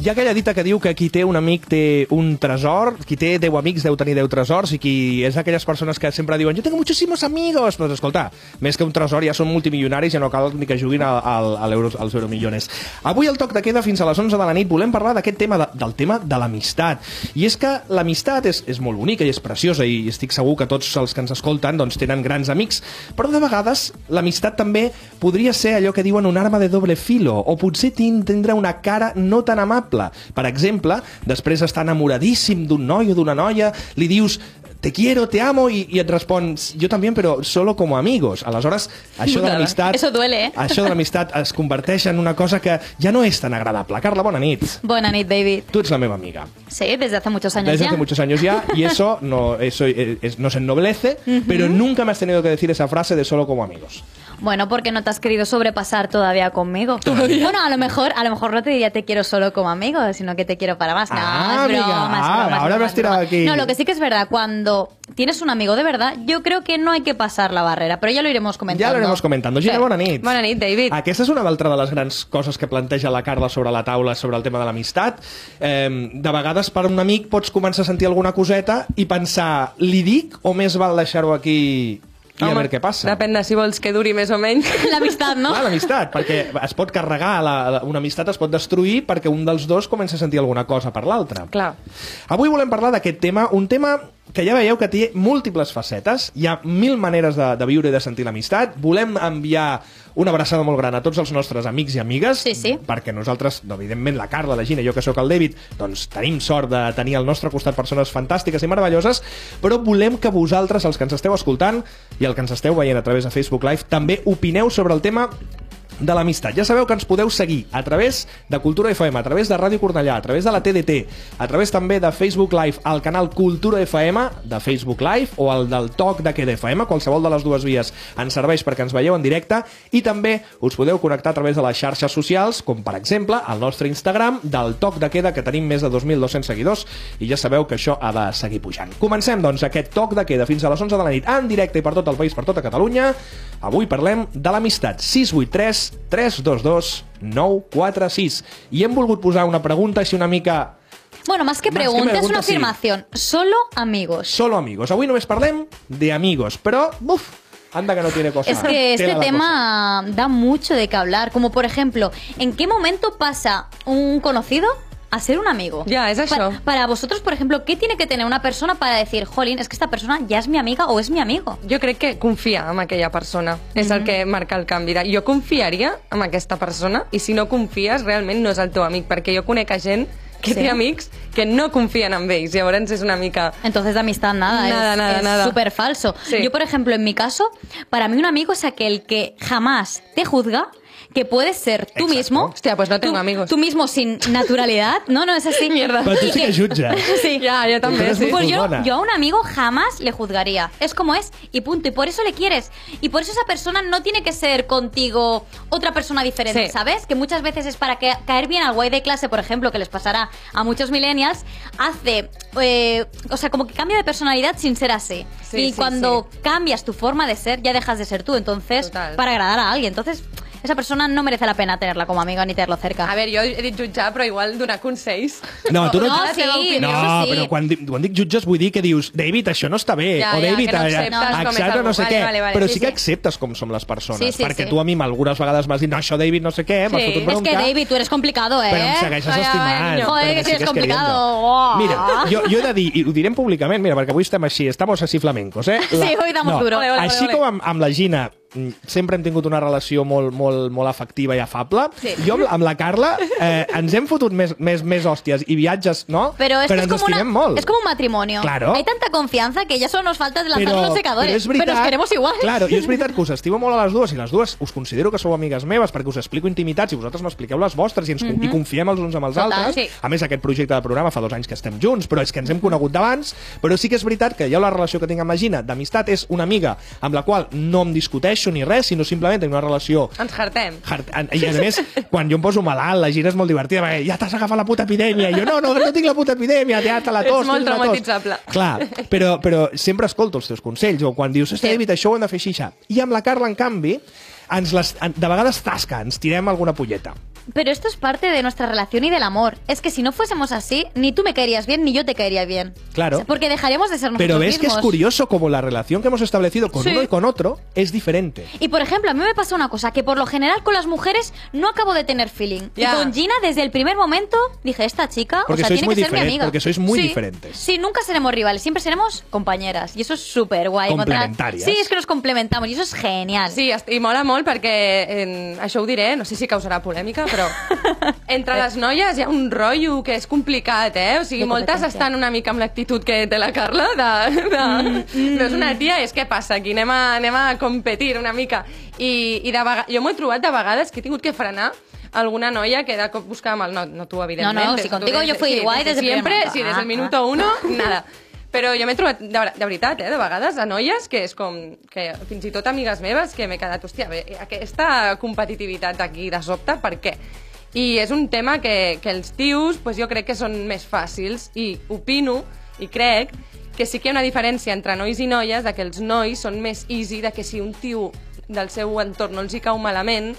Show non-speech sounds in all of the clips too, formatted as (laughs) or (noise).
Hi ha aquella dita que diu que qui té un amic té un tresor, qui té 10 amics deu tenir 10 tresors, i qui és d'aquelles persones que sempre diuen jo tengo muchísimos amigos, doncs escolta, més que un tresor ja són multimilionaris, ja no cal ni que juguin al, al, a l'euro- als euromillones. Avui al toc de queda fins a les 11 de la nit volem parlar d'aquest tema, de, del tema de l'amistat. I és que l'amistat és, és molt bonica i és preciosa, i estic segur que tots els que ens escolten doncs, tenen grans amics, però de vegades l'amistat també podria ser allò que diuen un arma de doble filo, o potser tin- tindre una cara no tan amable. Per exemple, després d'estar enamoradíssim d'un noi o d'una noia, li dius te quiero, te amo, i, i et respon jo també, però solo como amigos. Aleshores, això de Putada. l'amistat... Eso duele, eh? Això de l'amistat es converteix en una cosa que ja no és tan agradable. Carla, bona nit. Buena nit, David. Tu ets la meva amiga. Sí, desde hace muchos años Desde ya. hace muchos años ya, y eso, no, eso eh, es- nos ennoblece, pero nunca me has tenido que decir esa frase de solo como amigos. Bueno, porque no te has querido sobrepasar todavía conmigo. Bueno, a lo mejor, a lo mejor no te diría te quiero solo como amigo, sino que te quiero para más. No, Ah, es broma, amiga, es broma, ah, es ahora broma, me has es broma. tirado aquí. No, lo que sí que es verdad, cuando tienes un amigo de verdad, yo creo que no hay que pasar la barrera, pero ya lo iremos comentando. Ja l'aniremos comentando. Gina, Sí. bona nit. Bona nit, David. Aquesta és una altra de les grans coses que planteja la Carla sobre la taula, sobre el tema de l'amistat. Eh, de vegades, per un amic, pots començar a sentir alguna coseta i pensar, li dic o més val deixar-ho aquí i a veure què passa? Depèn de si vols que duri més o menys. (laughs) (laughs) La amistad, ¿no? Clar, l'amistat, perquè es pot carregar, la, la, una amistat es pot destruir perquè un dels dos comença a sentir alguna cosa per l'altre. Clar. Avui volem parlar d'aquest tema, un tema que ja veieu que té múltiples facetes, hi ha mil maneres de, de viure i de sentir l'amistat, volem enviar una abraçada molt gran a tots els nostres amics i amigues, Sí, sí. perquè nosaltres, no, evidentment, la Carla, la Gina, jo que sóc el David, doncs tenim sort de tenir al nostre costat persones fantàstiques i meravelloses, però volem que vosaltres, els que ens esteu escoltant i el que ens esteu veient a través de Facebook Live, també opineu sobre el tema de l'amistat. Ja sabeu que ens podeu seguir a través de Cultura FM, a través de Ràdio Cornellà, a través de la TDT, a través també de Facebook Live, al canal Cultura FM de Facebook Live o al del Toc de Queda FM, qualsevol de les dues vies ens serveix perquè ens veieu en directe i també us podeu connectar a través de les xarxes socials, com per exemple el nostre Instagram del Toc de Queda que tenim més de 2.200 seguidors i ja sabeu que això ha de seguir pujant. Comencem doncs aquest Toc de Queda fins a les 11 de la nit en directe i per tot el país, per tota Catalunya. Avui parlem de l'amistat 683 322 946 i hem volgut posar una pregunta així una mica Bueno, más que Más que preguntas, pregunta, una sí. afirmación. Solo amigos. solo amigos. Avui només parlem de amigos, però buf, anda que no tiene cosa. Es que Tela este la cosa. tema da mucho de qué hablar. Como por ejemplo, ¿en qué momento pasa un conocido a ser un amigo? Ya, es eso. Pa- Para, vosotros, por ejemplo, ¿qué tiene que tener una persona para decir, jolín, es que esta persona ya es mi amiga o es mi amigo? Jo crec que confia en aquella persona. És Mhm. el que marca el canvi. De, jo confiaria en aquesta persona i si no confies, realment no és el teu amic, perquè jo conec a gent que Sí. té amics que no confien en ells. Llavors és una mica... Entonces de amistad nada, Nada, es, nada, nada. súper falso. Sí. Yo, por ejemplo, en mi caso, para mí un amigo es aquel que jamás te juzga, que puedes ser tú Exacto. mismo. Hostia, pues no tengo tú- amigos. Tú mismo sin naturalidad. No, no (laughs) es así. Mierda. Però tu sí que jutges. (laughs) Sí. Ja, jo també, (laughs) Entonces, sí. muy- Pues yo, juzgona. yo a un amigo jamás le juzgaría. Es como es y punto. Y por eso le quieres. Y por eso esa persona no tiene que ser contigo otra persona diferente, Sí. ¿sabes? Que muchas veces es para que- caer bien al guay de clase, por ejemplo, que les pasará a muchos millennials, hace... eh, o sea, como que cambia de personalidad sin ser así. Sí, y sí, cuando cambias tu forma de ser, ya dejas de ser tú. Entonces, Total. para agradar a alguien. Entonces, esa persona no merece la pena tenerla como amiga ni tenerlo cerca. A veure, jo he dit jutjar, però igual donar consells. No, tu no- No, La teva sí. opinió. No, Això sí. però quan, di- quan dic jutges vull dir que dius David, això no està bé, Ja, o ja, David, que no eh, acceptes com és accepta algú. no sé Vale, què, vale, vale. però Sí, sí que sí. acceptes com som les persones, Sí, sí, perquè sí. tu a mi algunes vegades m'has dit no, això David no sé què, m'has Sí. fotut per Es un que cap, David, tú eres complicado, ¿eh? però em segueixes Vaya, estimant. vaya, niño. però Joder, me que si eres sigues complicado. queriendo. Guau. Mira, jo, jo he de dir, i ho direm públicament, mira, perquè avui estem així, estamos así flamencos, eh? Sí, hoy damos duro. Ole, ole, així ole. com amb, amb la Gina mm, sempre hem tingut una relació molt, molt, molt afectiva i afable. Sí. Jo amb, amb la Carla eh, ens hem fotut més, més, més hòsties i viatges, no? Pero esto però es, ens como una- estimem molt. es como un matrimonio. Claro. Hay tanta confianza que ya solo nos falta de lanzar però, los secadores. Però, és veritat, nos queremos igual. Claro, i és veritat que us estimo molt a les dues i les dues us considero que sou amigues meves perquè us explico intimitats i vosaltres m'expliqueu les vostres i, ens, i confiem els uns amb els Mhm. Total, altres. sí. A més, aquest projecte de programa fa dos anys que estem junts, però és que ens hem conegut d'abans. Però sí que és veritat que jo la relació que tinc amb la Gina d'amistat és una amiga amb la qual no em discuteixo ni res, sinó simplement tenim una relació Ens hartem. Hard- an- I a més, quan jo em poso malalt, la gira és molt divertida, perquè ja t'has agafat la puta epidèmia. I jo, no, no, no tinc la puta epidèmia, té hasta la Ets tos. molt tinc la tos. traumatitzable. Clar, però, però sempre escolto els teus consells, o quan dius, hosti, David, això ho hem de fer així, aixà. I amb la Carla, en canvi, ens les, en- de vegades tasca, ens tirem alguna polleta. Pero esto es parte de nuestra relación y del amor. Es que si no fuésemos así, ni tú me caerías bien, ni yo te caería bien. Claro. O sea, Porque dejaríamos de ser nosotros Pero ves que es mismos. curioso como la relación que hemos establecido con Sí. uno y con otro es diferente. Y por ejemplo, a mí me pasa una cosa, que por lo general con las mujeres no acabo de tener feeling. Ya. Y con Gina, desde el primer momento, dije, esta chica, Porque o sea, sois tiene muy que ser mi diferen- amiga. porque sois muy Sí. diferentes. Sí, nunca seremos rivales, siempre seremos compañeras. Y eso es súper guay. encontrar- Complementarias. Sí, es que nos complementamos y eso es genial. Sí, est- i mola molt perquè, eh, això ho diré, no sé si causarà polèmica, però (laughs) entre les noies hi ha un rotllo que és complicat, eh? O sigui, De moltes competència. estan una mica amb l'actitud que té la Carla de... de Mm, No és una tia, és què passa aquí, anem a, anem a competir una mica. I, i de vega... jo m'ho he trobat de vegades que he tingut que frenar alguna noia que de cop buscava mal... No, no tu, evidentment. No, no, des si de tu, contigo des de- yo fui igual desde el siempre, primer momento. Sí, des Ah, del ah. minuto uno, nada. Però jo m'he trobat, de, ver- de veritat, eh, de vegades, a noies que és com... Que, fins i tot amigues meves que m'he quedat, hòstia, bé, aquesta competitivitat aquí de sobte, per què? I és un tema que, que els tios pues, jo crec que són més fàcils i opino i crec que sí que hi ha una diferència entre nois i noies de que els nois són més easy de que si un tio del seu entorn no els hi cau malament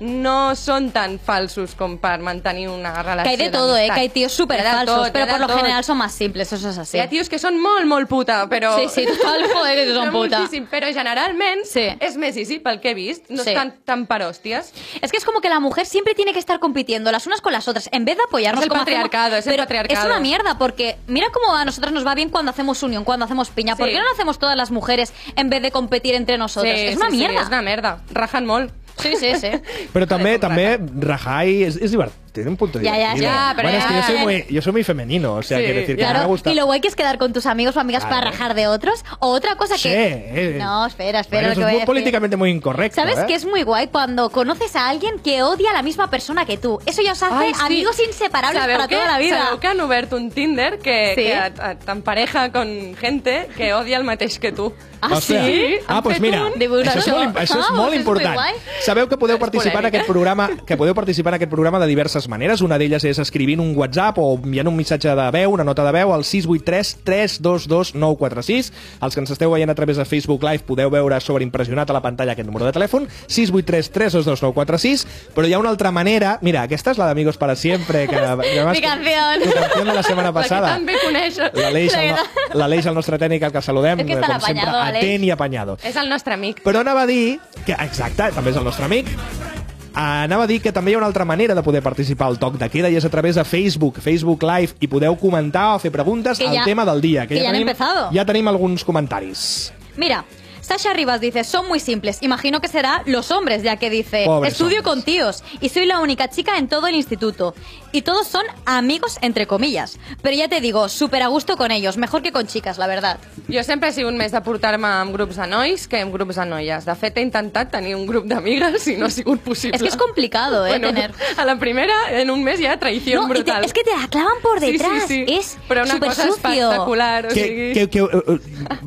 no són tan falsos com per mantenir una relació Que hay de todo, ¿eh? Que d'amistat. hay tíos súper Hi ha de falsos, tot, hi ha pero de por lo tot. general son más simples, eso es así. Hi ha tios que són molt, molt puta, però... Sí, sí, (laughs) total, joder, que son Però puta. moltíssim, Però generalment Sí. és més easy, pel que he vist. No Sí. estan tan per hòsties. Es que es como que la mujer siempre tiene que estar compitiendo las unas con las otras, en vez de apoyarnos Es el como hacemos- patriarcado, es el Pero patriarcado. Es una mierda, porque mira cómo a nosotros nos va bien cuando hacemos unión, cuando hacemos piña. ¿Por Sí. qué no lo hacemos todas las mujeres en vez de competir entre nosotras? es una sí, mierda. Sí, és una merda. Rajan molt. Sí, sí, sí. (laughs) Pero también, Vale, también rajar y es, es divertido, tiene un punto de Ya, ya, ya, pero bueno, es que yo ya. soy, muy, yo soy muy femenino, o sea, Sí, quiero decir que no me Claro, gusta. y lo guay que es quedar con tus amigos o amigas Claro. para rajar de otros. O otra cosa Sí, que. eh. No, espera, Bueno, espera. lo eso es que voy a muy decir. políticamente muy incorrecto. ¿Sabes ¿eh? que es muy guay cuando conoces a alguien que odia a la misma persona que tú? Eso ya os hace Ay, sí. amigos inseparables Sabeu para que, toda la vida. Sabeu que han obert un Tinder que, Sí. que et, et empareja con gente que odia el mateix que tu. Ah, O sigui, sí? Ah, Han doncs fet mira, un- De això és vosaltres? molt, im- això és Ah, molt doncs és important. superguai. Sabeu que podeu participar en polèmica. aquest programa que podeu participar en aquest programa de diverses maneres. Una d'elles és escrivint un WhatsApp o enviant un missatge de veu, una nota de veu al 683 322 946. Els que ens esteu veient a través de Facebook Live podeu veure sobreimpressionat a la pantalla aquest número de telèfon, 683 322 946. Però hi ha una altra manera... Mira, aquesta és la d'Amigos para Siempre, (laughs) que... que m'has- Mi canción. Tu canción de la (laughs) setmana La passada. que també coneixes. L'Aleix, el, La no- l'Aleix, el nostre tècnic, el que saludem, És que està com sempre, l'apanyazo, Aleix. atent i apanyado. És el nostre amic. Però anava a dir que, exacte, també és el nostre amic, eh, anava a dir que també hi ha una altra manera de poder participar al toc de queda i és a través de Facebook, Facebook Live, i podeu comentar o fer preguntes Que al ja- tema del dia. que ja han tenim, empezado. ja tenim alguns comentaris. Mira, Sasha Rivas dice, son muy simples. Imagino que será los hombres, ya que dice, Pobres estudio hombres. con tíos y soy la única chica en todo el instituto. Y todos son amigos, entre comillas. Pero ya te digo, súper a gusto con ellos, mejor que con chicas, la verdad. Jo sempre he sigut més de portar-me amb grups de nois que amb grups de noies. De fet, he intentat tenir un grup d'amigues i no ha sigut possible. Es que es complicado, ¿eh? tener... (laughs) A la primera, en un mes ja, traïció No, y te- brutal. es que te la clavan por detrás. Es Però una súper cosa sucio. espectacular, o que, sigui... que, que, eh, eh,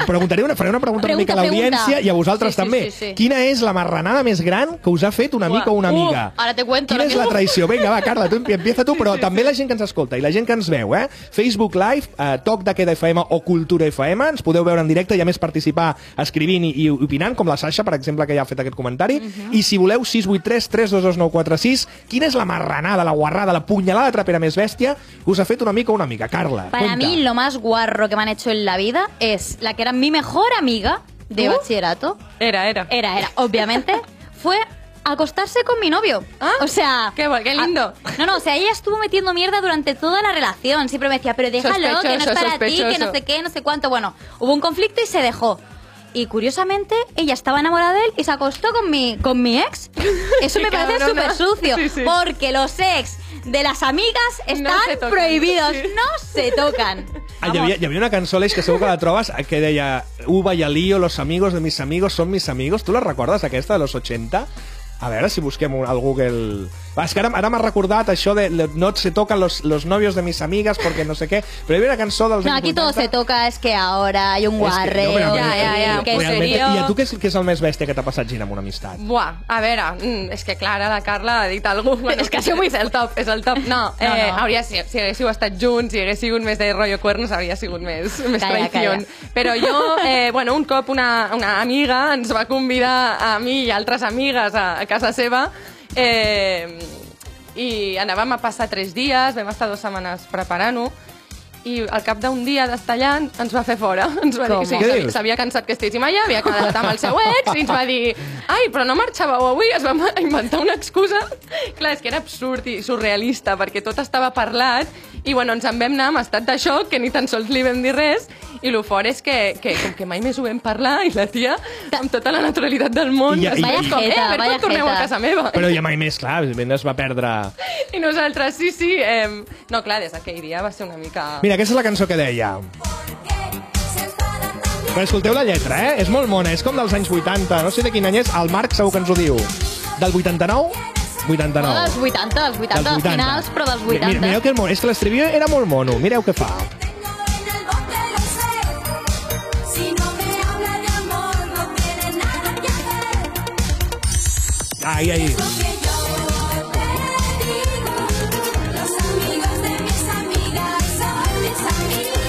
preguntaré una, faré una pregunta, una Pregunta, mica a l'audiència pregunta. i a vosaltres Sí, sí, també. sí, sí. Quina és la marranada més gran que us ha fet un amic Uah, o una uf, amiga? ara te cuento, Quina ara és la que- traïció? Vinga, va, Carla, tu empie- empieza tu, però també la gent que ens escolta i la gent que ens veu, eh? Facebook Live, eh, Toc de Queda FM o Cultura FM, ens podeu veure en directe i a més participar escrivint i, i opinant, com la Sasha, per exemple, que ja ha fet aquest comentari. Mhm. I si voleu, 683 322946, quina és la marranada, la guarrada, la punyalada trapera més bèstia que us ha fet un amic o una amiga? Carla, Para cuenta. mí lo más guarro que me han hecho en la vida es la que era mi mejor amiga de ¿Tú? bachillerato. Era, era. Era, era, obviamente, fue acostarse con mi novio. Ah, o sea... qué bu- qué lindo. Ah, no, no, o sea, ella estuvo metiendo mierda durante toda la relación. Siempre me decía, pero déjalo, que no es Sospechoso, para ti, que sospechoso. no sé qué, no sé cuánto. Bueno, hubo un conflicto y se dejó. Y curiosamente, ella estaba enamorada de él y se acostó con mi, con mi ex. Eso (laughs) Qué me parece cabrona. súper sucio, Sí, sí. porque los ex de las amigas están se tocan. prohibidos, Sí. no se tocan. Ah, hi, havia, hi havia una cançó, Aleix, que segur que la trobes, que deia Uva y Alío, los amigos de mis amigos son mis amigos. Tu la recordes, aquesta, de los 80? A veure si busquem un, al Google... Va, És que ara, ara m'ha recordat això de lo- no se tocan los, los novios de mis amigas porque no sé què. Però hi havia una cançó dels No, anys aquí todo 80. se toca, es que ahora hay un És que- guarreo, però, Ja, eh, ja, ja, eh, que realment. sería- I a tu què és, què és el més bèstia que t'ha passat, Gina, amb una amistat? Buah, a veure, mm, és que Clara, la Carla ha dit alguna cosa. És que ha (laughs) sigut muy És el top, és el top. No, eh, No, no. Hauria, si, si haguéssiu estat junts, si hagués sigut més de rotllo cuernos, hauria sigut més, més Calla, traïció. Però jo, eh, bueno, un cop una, una amiga ens va convidar a mi i altres amigues a, a casa seva eh, I anàvem a passar tres dies, vam estar dues setmanes preparant-ho, i al cap d'un dia d'estar allà ens va fer fora. (laughs) Ens va Com? dir Què que sí, dius? s'havia cansat que estiguéssim allà, havia quedat amb el seu ex i ens va dir ai, però no marxàveu avui, es va ma- (laughs) inventar una excusa. Clar, és que era absurd i surrealista perquè tot estava parlat i bueno, ens en vam anar amb estat de xoc que ni tan sols li vam dir res i lo fort és que, que, com que mai més ho vam parlar i la tia amb tota la naturalitat del món I- i- després i- com, eh, a Vaya veure jeta, quan torneu a vaya casa meva. Però ja mai més, clar, evidentment es va perdre... (laughs) I nosaltres, sí, sí. Eh, no, clar, des d'aquell dia va ser una mica... Mira, aquesta és la cançó que deia. Però escolteu la lletra, eh? És molt mona, és com dels anys 80, no sé de quin any és, el Marc segur que ens ho diu. Del 89? 89. No, dels 80, dels 80, dels 80. finals, però dels 80. Mira, mireu que el mono, és que l'estribillo era molt mono, mireu què fa. Tengo en el bote lo sé. Si no me habla de amor, no tiene nada que ver. Ai, ai. Lo que yo te digo, los amigos de mis amigas son mis amigos.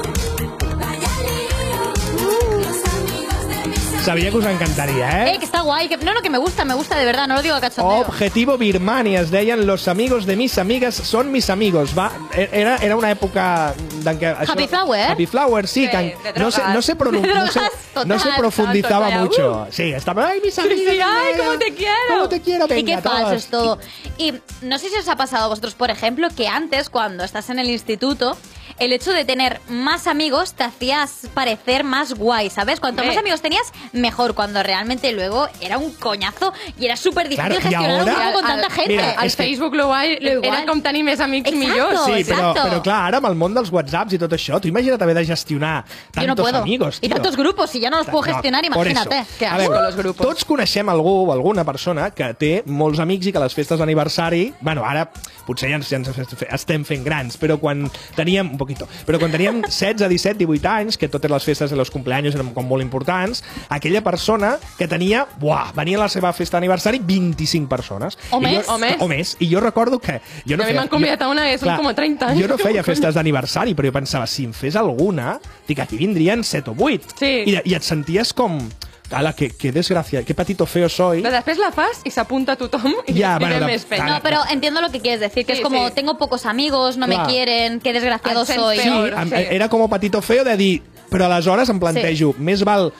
Uh, vaya lío. Los amigos de mis amigas. Sabia que us encantaria, Eh, eh? que está guay. Que... No, no, que me gusta, me gusta de verdad, no lo digo a cachondeo. Objetivo Birmania, es deien Los amigos de mis amigas son mis amigos. Va, era, era una època... En què això- Happy Flower? Happy Flower, sí. Sí, que en- de no, se, no, se pronun- (laughs) De no, se, drogas, no se total, profundizaba total, mucho. Sí, estaba... Ay, mis amigas. sí, ay, ay, cómo te quiero". Cómo te quiero, venga, y qué falso todos. es todo. Y no sé si os ha pasado a vosotros, por ejemplo, que antes, cuando estás en el instituto, el hecho de tener más amigos te hacías parecer más guay, ¿sabes? Cuanto más Eh. amigos tenías, mejor, cuando realmente luego era un coñazo y era súper difícil Claro, y gestionar un ahora- grupo con Al- tanta al- gente. Mira, Al és que- Facebook lo guai Lo igual. era com tenir més amics Exacto. millors. Sí, però, Exacto. però clar, ara amb el món dels whatsapps i tot això, tu imagina't haver de gestionar Yo no tantos puedo. amigos, y tio. tantos grupos, y ya no los puedo No, gestionar, por imagínate. eso. Qué A asco. veure, Con los grupos. tots coneixem algú o alguna persona que té molts amics i que a les festes d'aniversari, bueno, ara potser ja ens, ja ens es- estem fent grans, però quan teníem, un poquito, però quan (laughs) teníem 16, 17, 18 anys, que totes les festes de los cumpleaños eren com molt importants, aquella persona que tenia, buah, venia a la seva festa d'aniversari 25 persones. O I més. Jo, O més. O més. I jo recordo que... Jo no A mi feia- m'han convidat a una que són clar, com 30. Jo (laughs) no feia festes d'aniversari, però jo pensava, si en fes alguna, dic, aquí vindrien 7 o 8. Sí. I, i et senties com... Ala, que, que desgracia, que patito feo soy. Però després la fas i s'apunta tothom i ja, Ja, bueno, bueno, la- més feina. No, pero entiendo lo que quieres decir, que Sí, es como sí. tengo pocos amigos, no Claro. me quieren, qué desgraciado Al ser soy. Sí, peor. em, sí. era com patito feo de dir... Però aleshores em plantejo, sí. més val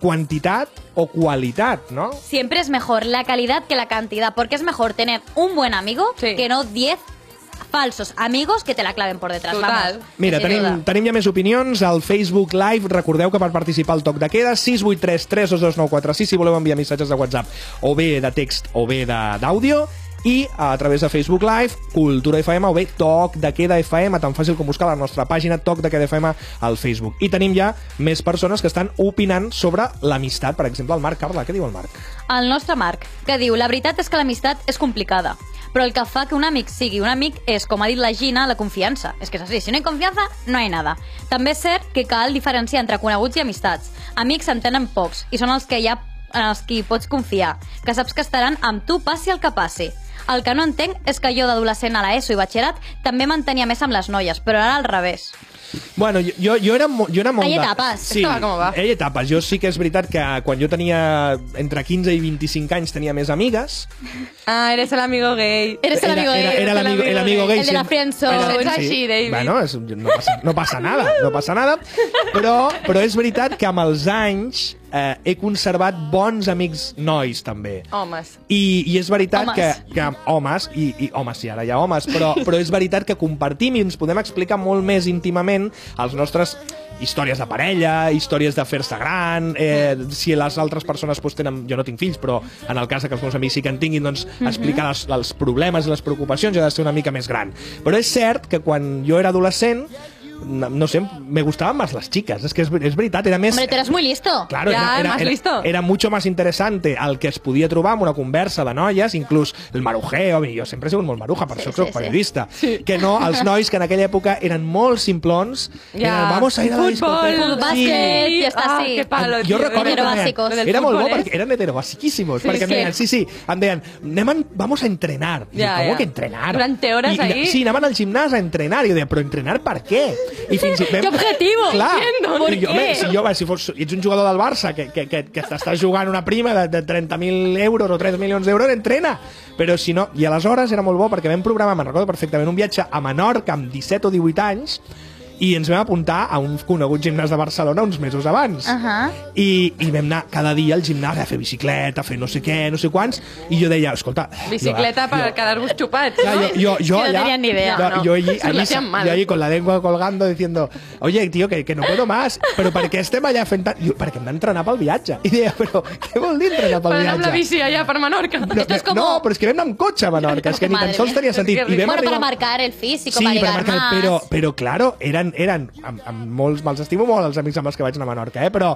quantitat o qualitat, no? Siempre es mejor la calidad que la cantidad, porque es mejor tener un buen amigo Sí. que no 10 falsos amigos que te la claven por detrás. Total. Vamos. Mira, Sin duda. tenim, tenim ja més opinions al Facebook Live. Recordeu que per participar al Toc de Queda, 683 322946, si voleu enviar missatges de WhatsApp o bé de text o bé de- d'àudio i a través de Facebook Live, Cultura FM o bé Toc de Queda FM, tan fàcil com buscar la nostra pàgina Toc de Queda FM al Facebook. I tenim ja més persones que estan opinant sobre l'amistat, per exemple, el Marc Carla. Què diu el Marc? El nostre Marc, que diu La veritat és que l'amistat és complicada, però el que fa que un amic sigui un amic és, com ha dit la Gina, la confiança. És que és així, si no hi ha confiança, no hi ha nada. També és cert que cal diferenciar entre coneguts i amistats. Amics en tenen pocs i són els que hi ha en els que hi pots confiar, que saps que estaran amb tu passi el que passi. El que no entenc és que jo d'adolescent a l'ESO i batxillerat també m'entenia més amb les noies, però ara al revés. Bueno, jo- jo, jo era, mo- jo era molt... Hay de- etapes. Sí, Esto va como va. hi ha etapes. Jo sí que és veritat que eh, quan jo tenia entre 15 i 25 anys tenia més amigues, Ah, eres el amigo gay. Eres el Era- amigo era, gay, Era, el, amigo, el amigo gay. El de la siempre- friendzone. era- Ets així, David. Bueno, és, no, passa, no passa nada, no passa nada. Però, però és veritat que amb els anys eh, he conservat bons amics nois, Oh, també. Homes. I, i és veritat Homes. que, que homes, i, i homes sí, ara hi ha homes, (laughs) però, però és veritat que compartim i ens podem explicar molt més íntimament els nostres històries de parella, històries de fer-se gran, eh, si les altres persones pues, tenen... Jo no tinc fills, però en el cas de que els meus amics sí que en tinguin, doncs Mhm. explicar els, els problemes i les preocupacions ja ha de ser una mica més gran. Però és cert que quan jo era adolescent, no, no sé, me gustaven més les xiques, és que és, ver- és veritat, era més... Hombre, tú eres muy listo. Claro, Ya, era, más era, era, listo. era mucho más interesante el que es podia trobar amb una conversa de noies, inclús el marujeo, i jo sempre he sigut molt maruja, per sí, Sí, això soc sí, sí. periodista, sí. que no els nois que en aquella època eren molt simplons, Ja. eren, vamos a ir a la discoteca. Fútbol, bàsquet, ya está ah, así. qué palo, jo recordo que Era, em deien- Heterobàsicos. era, Lo del molt bo futbol, eh? perquè eren heterobasiquísimos, Sí, perquè em sí. deien, sí, sí, em deien, anem, en- vamos a entrenar. I Ja, com ja. que entrenar? Durante hores I, i, ahí. Sí, anaven al gimnàs a entrenar, i jo deia, però entrenar per què? I fins i ¡Qué objetivo! Clar, Entiendo, ¿por i jo, home, qué? si, jo, si fos, ets un jugador del Barça que, que, que, que t'estàs jugant una prima de, de 30.000 euros o 3 milions d'euros, entrena! Però si no... I aleshores era molt bo perquè vam programar, me'n recordo perfectament, un viatge a Menorca amb 17 o 18 anys i ens vam apuntar a un conegut gimnàs de Barcelona uns mesos abans. Ahà. I, I vam anar cada dia al gimnàs a fer bicicleta, a fer no sé què, no sé quants, i jo deia, escolta... jo- Bicicleta per jo- quedar-vos xupats. Claro, no? yo, yo, yo Que no allá- tenían ni idea, yo- ¿no? yo Se allí, lo allí- hacían mal. yo allí con la lengua colgando diciendo, oye, tío, que, que no puedo más, però per què estem allà fent tant? Diu, perquè hem d'entrenar pel viatge. I deia, però què vol dir entrenar Per pel anar amb la viatge? bici allà per Menorca. No, Esto es no, como- però és que vam anar amb cotxe a (laughs) Menorca, és que ni tan Madre sols mía. tenia sentit. I vam Bueno, arribar... para marcar el físico, Sí, para per ligar marcar, más. però, però claro, eren, eren amb, amb molts, me'ls estimo molt els amics amb els que vaig anar a Menorca, eh? però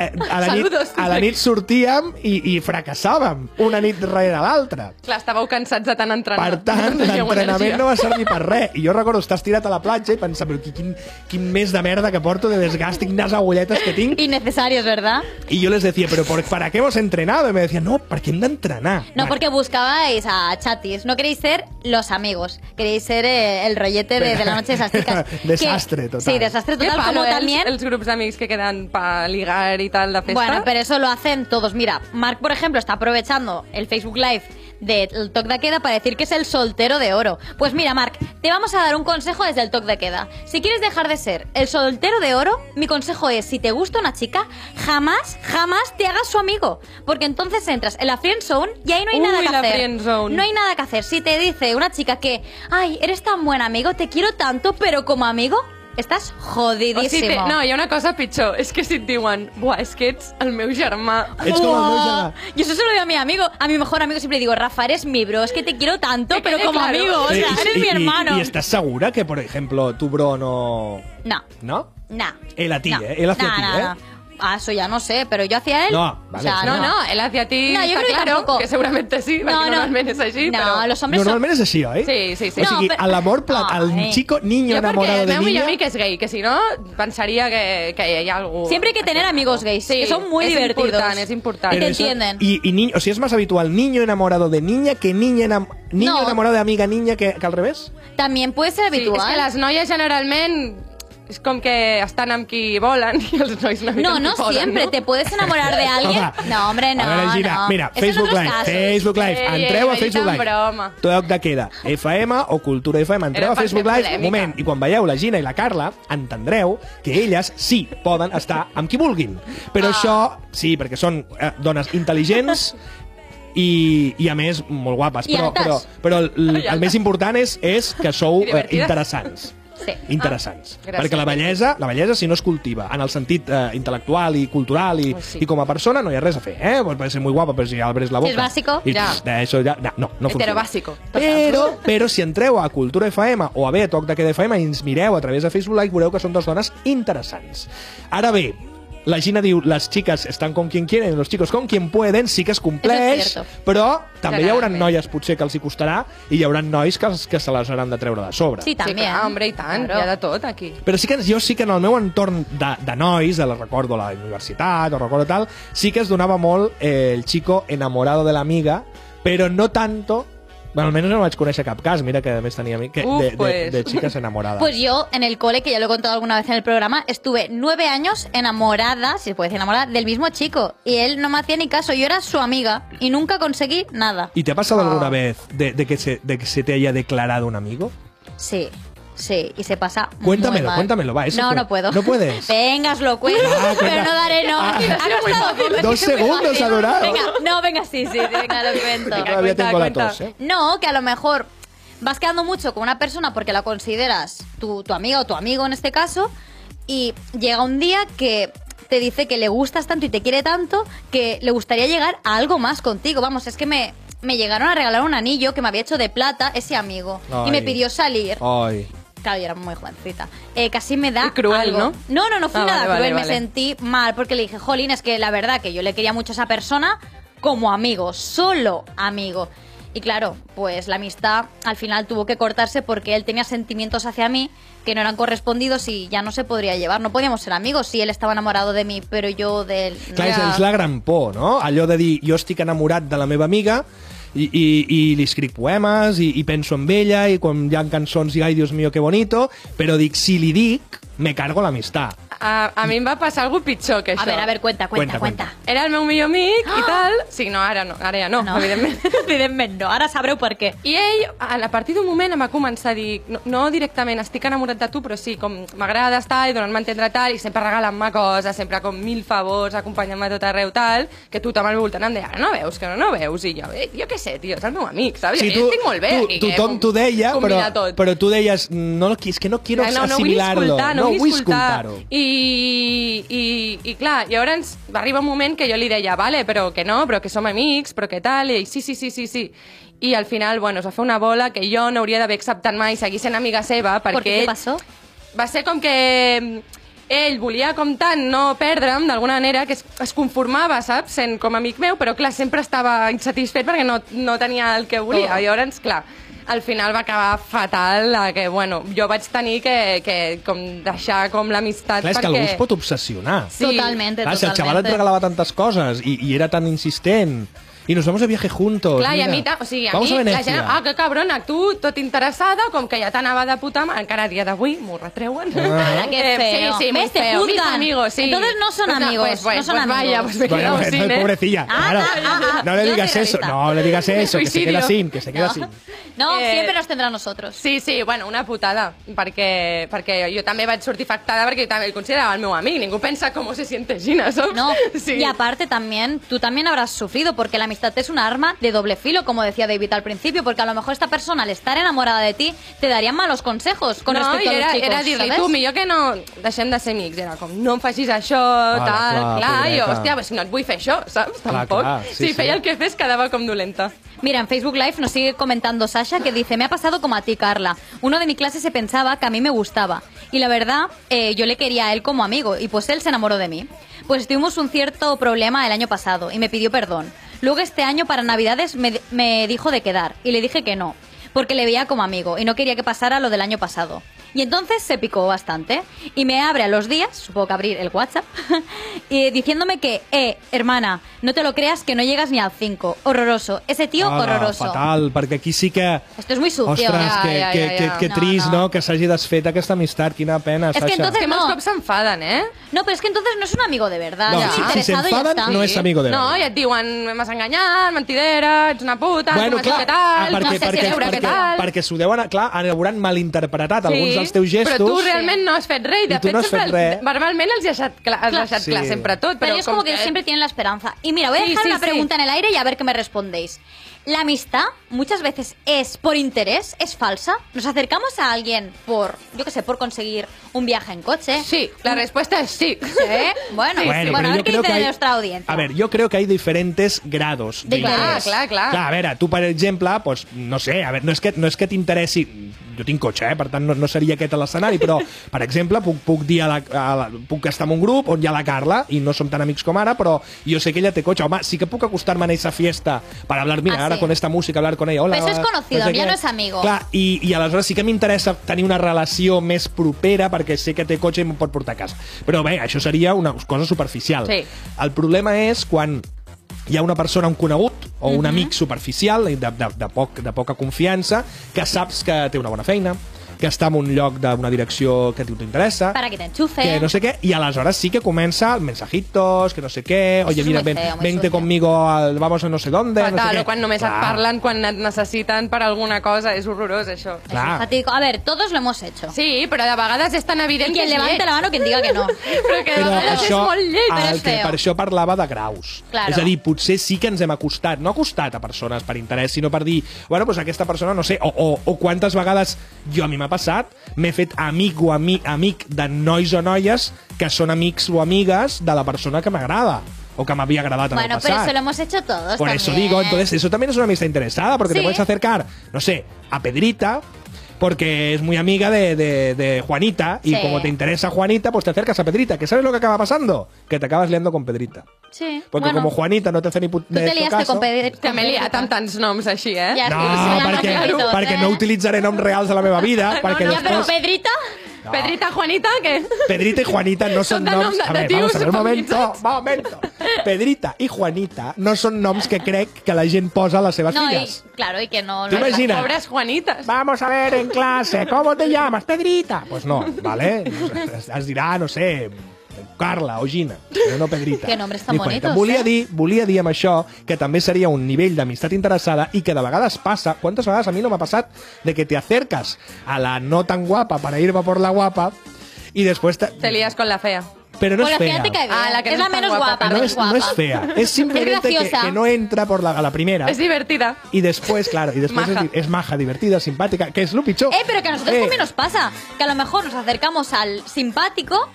eh, a, la nit, Saludos, a la nit sortíem i, i fracassàvem, una nit rere l'altra. Clar, estàveu cansats de tant entrenar. Per tant, (laughs) No teníeu l'entrenament energia. no va servir per res. I jo recordo estar estirat a la platja i pensar, però qui- quin, quin mes de merda que porto de desgast, quines agulletes que tinc. Innecesarios, ¿verdad? I jo les decía, però por, ¿para qué hemos entrenado? I me decían, no, perquè hem d'entrenar. No, Vale. porque buscabais a chatis. No queréis ser los amigos. Queréis ser eh, el rollete de, de la noche de esas chicas. (laughs) Desastre Que- total. Sí, desastre Qué total, palo, como eh, els- también... Els grups d'amics que queden pa ligar i tal de festa. Bueno, pero eso lo hacen todos. Mira, Mark, por ejemplo, está aprovechando el Facebook Live del Toc de Queda para decir que es el soltero de oro. Pues mira, Mark, te vamos a dar un consejo desde el Toc de Queda. Si quieres dejar de ser el soltero de oro, mi consejo es, si te gusta una chica, jamás, jamás te hagas su amigo. Porque entonces entras en la friend zone y ahí no hay Uy, nada que la hacer. friendzone. No hay nada que hacer. Si te dice una chica que, ay, eres tan buen amigo, te quiero tanto, pero como amigo... Estás O jodidísimo. sigui, té, no, hi ha una cosa pitjor. És que si et diuen, buah, és que ets el meu germà. Ets com el meu germà. Yo eso se lo digo a mi amigo. A mi mejor amigo siempre digo, Rafa, eres mi bro, es que te quiero tanto, Que pero quede como claro. amigo, o Eh, sea, y- eres y- mi y- hermano. ¿Y estás segura que, por ejemplo, tu bro no... No, ¿No? no. Él a ti, no. ¿eh? Él hacia No, ti, no, ¿eh? no. Ah, eso ya no sé, pero yo hacia él. No, o vale, sea, sí, No, Ah, no, ell hacia ti No, jo està crec que claro, tampoco. que segurament sí, perquè No, no. normalment és així, No, però... los hombres son... Normalment és així, oi? Sí, sí, sí. O sigui, No, però- a l'amor plat, al Ai. chico niño Jo perquè enamorado el de meu millor niña... amic és gay, que si no pensaria que, que hi ha algú... Siempre hay que tener amigos gays, Sí, que son muy és divertidos. important, és important. Y te Pero eso- entienden. Y, y ni- o sea, es más habitual niño enamorado de niña que niña enam- niño No. enamorado de amiga niña que, que al revés. También puede ser Sí, habitual. és que les noies generalment és com que estan amb qui volen (laughs) i els nois una mica No, amb no qui poden, siempre. no? ¿Te puedes enamorar (laughs) de alguien? Home, No, hombre, no. A veure, Gina, no. mira, Eso en Facebook otros Live, casos. Facebook Live, Ei, entreu a ei, Facebook tan Live. broma. Tot de queda, FM o Cultura FM, entreu Era a per Facebook fer Live, polèmica. un moment, i quan veieu la Gina i la Carla, entendreu que elles sí poden estar amb qui vulguin. Ah. Però això, sí, perquè són eh, dones intel·ligents, i, i a més molt guapes I però, però, altes. però el, el més important és, és que I sou eh, divertides. interessants Sí. interessants. gràcies. perquè la bellesa, la bellesa si no es cultiva en el sentit eh, intel·lectual i cultural i, Pues sí. i com a persona no hi ha res a fer, eh? Pues puede ser muy guapa, però si ja obres la boca. Si es básico, i, ja. pff, Eso ya, no, no, no funciona. Heterobásico. Però, (laughs) però si entreu a Cultura FM o a bé a Toc de Queda FM i ens mireu a través de Facebook Live, veureu que són dues dones interessants. Ara bé, la Gina diu, les xiques estan com quien quieren, los chicos com quien pueden, sí que es compleix, cierto. però també hi haurà Generalment. noies potser que els hi costarà i hi haurà nois que, els- que se les hauran de treure de sobre. Sí, Sí, también. clar, home, i tant, eh? Claro. hi ha de tot aquí. Però sí que jo sí que en el meu entorn de, de nois, de la recordo a la universitat, o recordo tal, sí que es donava molt eh, el chico enamorado de l'amiga, però no tanto... Bueno, almenys no vaig conèixer cap cas, mira que a més tenia amic, que, Uf, de, de, pues. de chicas enamorades. Pues yo, en el cole, que ya lo he contado alguna vez en el programa, estuve nueve años enamorada, si se puede decir enamorada, del mismo chico. Y él no me hacía ni caso, yo era su amiga y nunca conseguí nada. ¿Y te ha pasado alguna Ah. vez de, de, que se, de que se te haya declarado un amigo? Sí, sí, y se pasa. muy Cuéntamelo, mal. cuéntamelo, va, eso No, fue. no puedo. ¿No puedes? (laughs) Venga, os lo cuento, Ah, cuenta. pero no daré no. Ah, Ha costado- Dos segundos ha durado. Venga, no, venga, sí, sí, venga, lo cuento. Yo todavía cuenta, tengo la cuenta. tos, ¿eh? No, que a lo mejor vas quedando mucho con una persona porque la consideras tu, tu amiga o tu amigo en este caso, y llega un día que te dice que le gustas tanto y te quiere tanto que le gustaría llegar a algo más contigo. Vamos, es que me, me llegaron a regalar un anillo que me había hecho de plata ese amigo y me Ay. pidió salir. Ay. Claro, yo era muy jovencita. Eh, casi me da. Y cruel, algo. ¿no? No, no, no fui Ah, nada vale, vale, cruel. vale. Me sentí mal porque le dije, Jolín, es que la verdad que yo le quería mucho a esa persona como amigo, solo amigo. Y claro, pues la amistad al final tuvo que cortarse porque él tenía sentimientos hacia mí que no eran correspondidos y ya no se podría llevar. No podíamos ser amigos si él estaba enamorado de mí, pero yo de él. no. Clar, és, Ja. és la gran por, no? Allò de dir, jo estic enamorat de la meva amiga, i, i, i li escric poemes i, i penso en ella i quan hi ha cançons i ai, Dios mío, que bonito, però dic, si li dic, me cargo l'amistat. A, a mi em va passar alguna pitjor que això. A veure, a veure, cuenta, Cuenta, cuenta, cuenta. cuenta. Era el meu millor amic i tal. Sí, no, ara no, Ah! ara ja no, (laughs) no. evidentment. evidentment no. Ara sabreu per què. I ell, a a partir d'un moment, em va començar a dir, no, no directament, estic enamorat de tu, però sí, com m'agrada estar i donar-me a entendre tal, i sempre regalant-me coses, sempre com mil favors, acompanyant-me a tot arreu tal, que tothom al voltant em deia, ara no veus, que no, no veus, i jo, eh, jo què sé, tio, és el meu amic, saps? Sí, Sí, tu, estic molt bé tu, aquí, que tothom com- t'ho deia, però, combina tot. però tu deies, no, és que no quiero Clar, no, no vull assimilar-lo. escoltar, no, vull escoltar. escoltar-ho. I, i, I clar, llavors va arribar un moment que jo li deia, vale, però que no, però que som amics, però que tal, i ell, sí, sí, sí, sí, sí. I al final, bueno, es va fer una bola que jo no hauria d'haver acceptat mai seguir sent amiga seva, perquè Perquè què ell passó? va ser com que mm, ell volia com tant no perdre'm d'alguna manera que es, es conformava, saps, sent com amic meu, però clar, sempre estava insatisfet perquè no, no tenia el que volia. Oh. Oh. I llavors, clar, al final va acabar fatal, la que, bueno, jo vaig tenir que, que com deixar com l'amistat Clar, és que perquè... algú es pot obsessionar. Sí. Totalmente, Clar, si el xaval et totalmente. regalava tantes coses i, i era tan insistent i nos vamos de viaje juntos. Clar, i a Doncs mira, mi, ta- o sigui, a vamos mi a la Venecia. gent... Ah, que cabrona, tu, tot interessada, com que ja t'anava de puta mà, encara a dia d'avui m'ho retreuen. Ah. (laughs) Ara, que Eh, feo. Sí, sí, muy Ves, te feo. Mis juzgan. amigos, sí. Entonces no son amigos, Pues, bueno, no son pues vaya, amigos. pues me he Bueno, quedado bueno, sin, ¿eh? pobrecilla. Ah, claro. ah, ah, ah. no le Yo digas soy eso, realista. no le digas eso, que se Suicidio. queda sin, que se queda sin. No, Eh, siempre nos tendrá a nosotros. Sí, sí, bueno, una putada, perquè, perquè jo també vaig sortir factada perquè jo també el considerava el meu amic. Ningú pensa com se siente Gina, saps? No, (laughs) sí. y aparte también, tú también habrás sufrido porque la amistad es un arma de doble filo, como decía David al principio, porque a lo mejor esta persona al estar enamorada de ti te daría malos consejos con no, respecto i era, a los chicos, era dir-li, ¿sabes? tu, millor que no deixem de ser amics. Era com, no em facis això, Clar, tal, clar, clar. I jo, pobreta. hòstia, pues, si no et vull fer això, saps? Clar, Tampoc. clar, sí, si sí. feia el que fes, quedava com dolenta. Mira, en Facebook Live nos sigue comentando Sasha que dice, me ha pasado como a ti, Carla. Uno de mi clase se pensaba que a mí me gustaba. Y la verdad, eh, yo le quería a él como amigo y pues él se enamoró de mí. Pues tuvimos un cierto problema el año pasado y me pidió perdón. Luego este año para Navidades me, me dijo de quedar y le dije que no, porque le veía como amigo y no quería que pasara lo del año pasado. Y entonces se picó bastante y me abre a los días, supongo que abrir el WhatsApp, (laughs) y diciéndome que, eh, hermana, no te lo creas que no llegas ni al 5. Horroroso. Ese tío, Ah, horroroso. fatal, perquè aquí sí que... Esto es muy sucio. Ostres, Ya, que, ya, que, ya, que, ya. que No, trist, no. no? Que s'hagi desfet aquesta amistat, quina pena, que Sasha. entonces- És que molts No. cops s'enfaden, eh? No, pero es que entonces no es un amigo de verdad. No, es un si- si se interesado y ya enfadan, está. no es amigo de No, verdad. i et diuen, m'has enganyat, mentidera, ets una puta, Bueno, no sé clar, què tal, ah, perquè, no sé perquè, si veure perquè, què tal... perquè s'ho deuen, clar, ara hauran malinterpretat alguns dels teus gestos. Però tu realment no has fet res. i De I tu fet, no has sempre fet res. el- verbalment els has deixat clar, has Clar. deixat Sí. clar sempre tot. Pero Però, ellos como que siempre tienen la esperanza. Y mira, voy a Sí, dejar sí, una sí. pregunta en el aire y a ver qué me respondéis. ¿La amistad muchas veces es por interés? ¿Es falsa? ¿Nos acercamos a alguien por, yo qué sé, por conseguir un viaje en coche? Sí, la Mm. respuesta es sí. ¿Eh? Bueno, Sí, bueno, sí. a pero ver yo qué creo dice que de hay- nuestra audiencia. A ver, yo creo que hay diferentes grados de, De- clar, interés. clar, clar. Clar, a veure, tu, per exemple, doncs, no sé, a veure, no és que, no és que t'interessi... Jo tinc cotxe, eh? per tant, no, no seria aquest a l'escenari, (laughs) però, per exemple, puc, puc dir a la, a la, puc estar en un grup on hi ha la Carla i no som tan amics com ara, però jo sé que ella té cotxe. Home, sí que puc acostar-me a esa fiesta per hablar, mira, Ah, ara sí. con esta música, hablar con ella. Hola, Però eso es hola, conocido, sé ja què. no es amigo. Clar, i, i aleshores sí que m'interessa tenir una relació més propera perquè sé que té cotxe i m'ho pot portar a casa. Però bé, això seria una cosa superficial. Sí. El problema és quan hi ha una persona, un conegut o Mhm. un amic superficial de, de, de, poc, de poca confiança que saps que té una bona feina, que està en un lloc d'una direcció que a tu t'interessa, Para que te enchufe. que no sé què, i aleshores sí que comença el mensajitos, que no sé què, oye, es mira, muy ven, feo, muy vente sucio. conmigo, al, vamos a no sé dónde, no sé Fatal, què. o quan només et Clar, parlen quan et necessiten per alguna cosa. És horrorós, això. Es Clar. enfático. A ver, todos lo hemos hecho. Sí, però de vegades és tan Y evident quien que és levante lleig. la mano, quien diga que no. Però que de però vegades això, és molt eh, lleig. però el és que, feo. per això parlava de graus. Claro. És a dir, potser sí que ens hem acostat, no acostat a persones per interès, sinó per dir, bueno, doncs aquesta persona, no sé, o, o, o quantes vegades jo a mi m'ha passat, m'he fet amic o ami, amic de nois o noies que són amics o amigues de la persona que m'agrada o que m'havia agradat en Bueno, el pero passat. eso lo hemos hecho todos. Por también. eso digo, entonces eso también es una amistad interesada, porque Sí. te puedes acercar, no sé, a Pedrita, porque es muy amiga de, de- de Juanita, y Sí. como te interesa Juanita, pues te acercas a Pedrita, que sabes lo que acaba pasando, que te acabas liando con Pedrita. Sí. Porque bueno, como Juanita no te hace ni puto tú te liaste caso, con pedir. Que m'he liat amb tants noms així, eh? Ja. No, Sí, sí, perquè, sí, sí, sí. (laughs) perquè no utilitzaré noms reals a la meva vida, perquè Ya, pero després... Pedrita. Pedrita, Juanita, que... Pedrita y Juanita no son de nom noms... de- A de ver, tios vamos a ver, un momento, familiars. momento. Pedrita i Juanita no són noms que crec que la gent posa a les seves No, y, filles. claro, y que no... Tú no- imagina- Mira. Pobres Juanitas. Vamos a ver en clase, ¿cómo te llamas? Pedrita. Pues no, ¿vale? Es, es dirà, no sé, Carla o Gina, però no Pedrita. Que nombres tan Ni Juanita. bonitos, Volia eh? dir, volia dir amb això que també seria un nivell d'amistat interessada i que de vegades passa, quantes vegades a mi no m'ha passat, de que te acerques a la no tan guapa para ir a por la guapa y después te... Te lías con la fea. Pero no Con es la fea. fíjate que Ah, la que es no la es tan menos guapa. guapa, no, menos es, guapa. no es fea, (laughs) es simplemente que, graciosa. que no entra por la, a la primera. Es divertida. Y después, claro, y después Maja. Es, di- es maja, divertida, simpática, que es lo pichó. Eh, pero que a nosotros Eh, también nos pasa. Que a lo mejor nos acercamos al simpático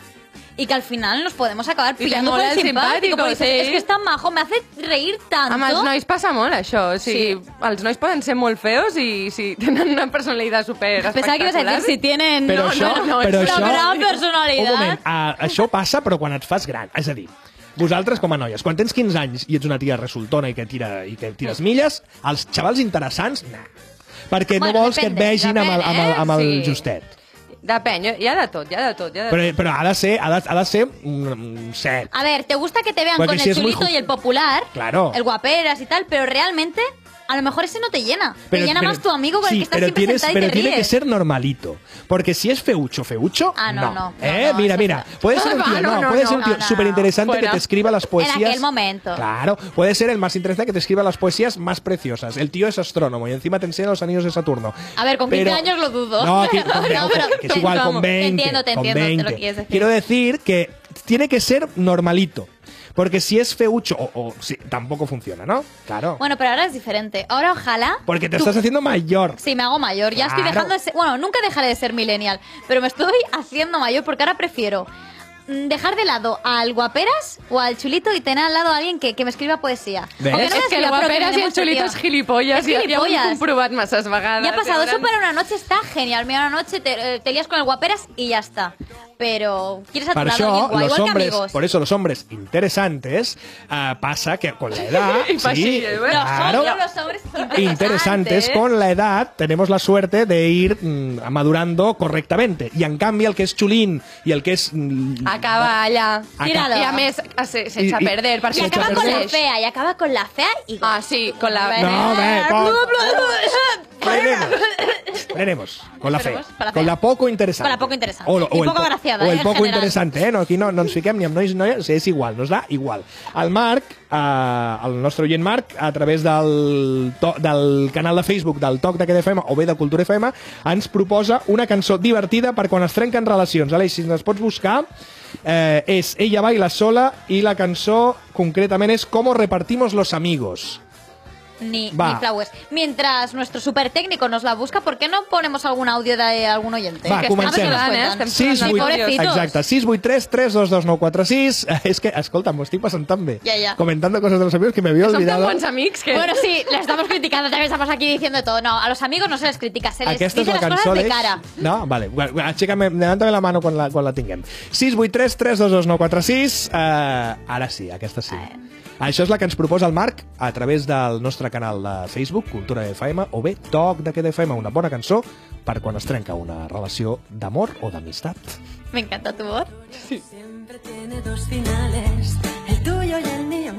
y que al final nos podemos acabar te pillando con mola el el simpático. simpático, porque dices, sí. Es que es tan majo, me hace reír tanto. Amb els nois passa molt, això. O sigui, sí. Els nois poden ser molt feos i si (laughs) tenen una personalitat super Pensaba espectacular... que ibas a decir si tienen Però no, això, no, no, però una això, gran Un moment, personalidad. a, això passa però quan et fas gran, és a dir, vosaltres com a noies, quan tens 15 anys i ets una tia resultona i que, tira, i que tires milles, els xavals interessants, nah. Perquè Bueno, no vols que et depèn, vegin amb el, amb el, amb el depèn, eh? Sí. justet. Depèn, hi ha de tot, hi ha de tot. Hi ha de Però, eh, però ha de ser, ha de, ha de ser un, un set. A ver, ¿te gusta que te vean Porque con si el es muy chulito ju- y el popular? Claro. El guaperas y tal, pero realmente a lo mejor ese no te llena. te llena más tu amigo con sí, el que estás pero siempre tienes, sentada pero y te tiene que ríes. ser normalito. Porque si es feucho, feucho. Ah, no, no, no, ¿Eh? no, mira, eso mira. no. Puede (laughs) ser un tío, Ah, no, no, no, puede no, ser un tío no, no. súper interesante que Fuera. te escriba (laughs) las poesías. aquel momento. Claro. Puede ser el más interesante que te escriba las poesías más preciosas. El tío es astrónomo y encima te enseña los anillos de Saturno. A ver, con 15 años lo dudo. (laughs) No, aquí- No, con- no, que- pero que es igual, con vamos, te 20. entiendo, te con entiendo, te lo 20. quieres decir. Quiero decir que tiene que ser normalito. Porque si es feucho, o, o si- tampoco funciona, ¿no? Claro. Bueno, pero ahora es diferente. Ahora ojalá... porque te tú- estás haciendo mayor. Sí, me hago mayor. Ya estoy Claro. dejando de ser... Bueno, nunca dejaré de ser millennial, pero me estoy haciendo mayor porque ahora prefiero mm, dejar de lado al guaperas o al chulito y tener al lado a alguien que, que me escriba poesía. ¿Ves? O que tot. no me És que el escriba, però que me guaperes i el demuestre, xulito tío. és gilipolles. És i- Ja ho gilipolles. hem comprovat masses vegades. Ya ha pasado Tenen- eso para una noche, está genial. Mira, una noche te, eh, te lías con el guaperas y ya está. Pero quieres a tu Para lado això, alguien guay, los igual que hombres, amigos. por eso los hombres interesantes, ah, pasa que con la (laughs) edad, Y sí, pasillo, Los bueno. claro, hombres, ¿eh? los hombres interesantes, con la edad tenemos la suerte de ir mm, madurando correctamente. Y en cambio el que es chulín y el que es... mm, Acaba allà. Acaba. Tíralo. I a més, eh, a ser, sense I- i- perder, Y perquè sense acaba con la perdeix. fea, y acaba con la fea y... Ah, sí, con la... No, ve, con... Frenemos. (laughs) Frenemos, con la fe. Frenemos, per la fe. Con la poco interesante. Con la poco interesante. O, lo- o I el poco po- agraciada, o eh, el en poco general. interesante, eh? No, aquí no, no ens fiquem ni amb nois ni noies, és igual, nos da igual. El Marc, eh, el nostre oient Marc, a través del, to, del canal de Facebook del Toc de Queda FM o bé de Cultura FM, ens proposa una cançó divertida per quan es trenquen relacions. Aleix, si ens pots buscar, eh, és Ella baila sola i la cançó concretament és Cómo repartimos los amigos. Ni, Va. ni flowers. Mientras nuestro super técnico nos la busca, ¿por qué no ponemos algun audio de algún oyente? Va, Que comencem. estamos Estem escoltant. sonant, eh? 6, Sí, 8, pobrecitos. exacte, 683 322 (laughs) És que, escolta, m'ho estic passant tan bé. Ja, ja. Comentando cosas de los amigos que me había Som tan olvidado. bons amics que... Bueno, sí, la estamos criticando, también estamos aquí diciendo de todo. No, a los amigos no se les critica, se les Aquesta dice és la las cançó, cosas de Aleix? cara. No? Vale, bueno, aixeca'm, levanta'm la mano quan la, quan la tinguem. 683 322 eh, ara sí, aquesta sí. Això és la que ens proposa el Marc a través del nostre canal de Facebook, Cultura FM, o bé Toc de Queda FM, una bona cançó per quan es trenca una relació d'amor o d'amistat. Me encanta tu voz. Siempre tiene dos finales, el tuyo y el mío.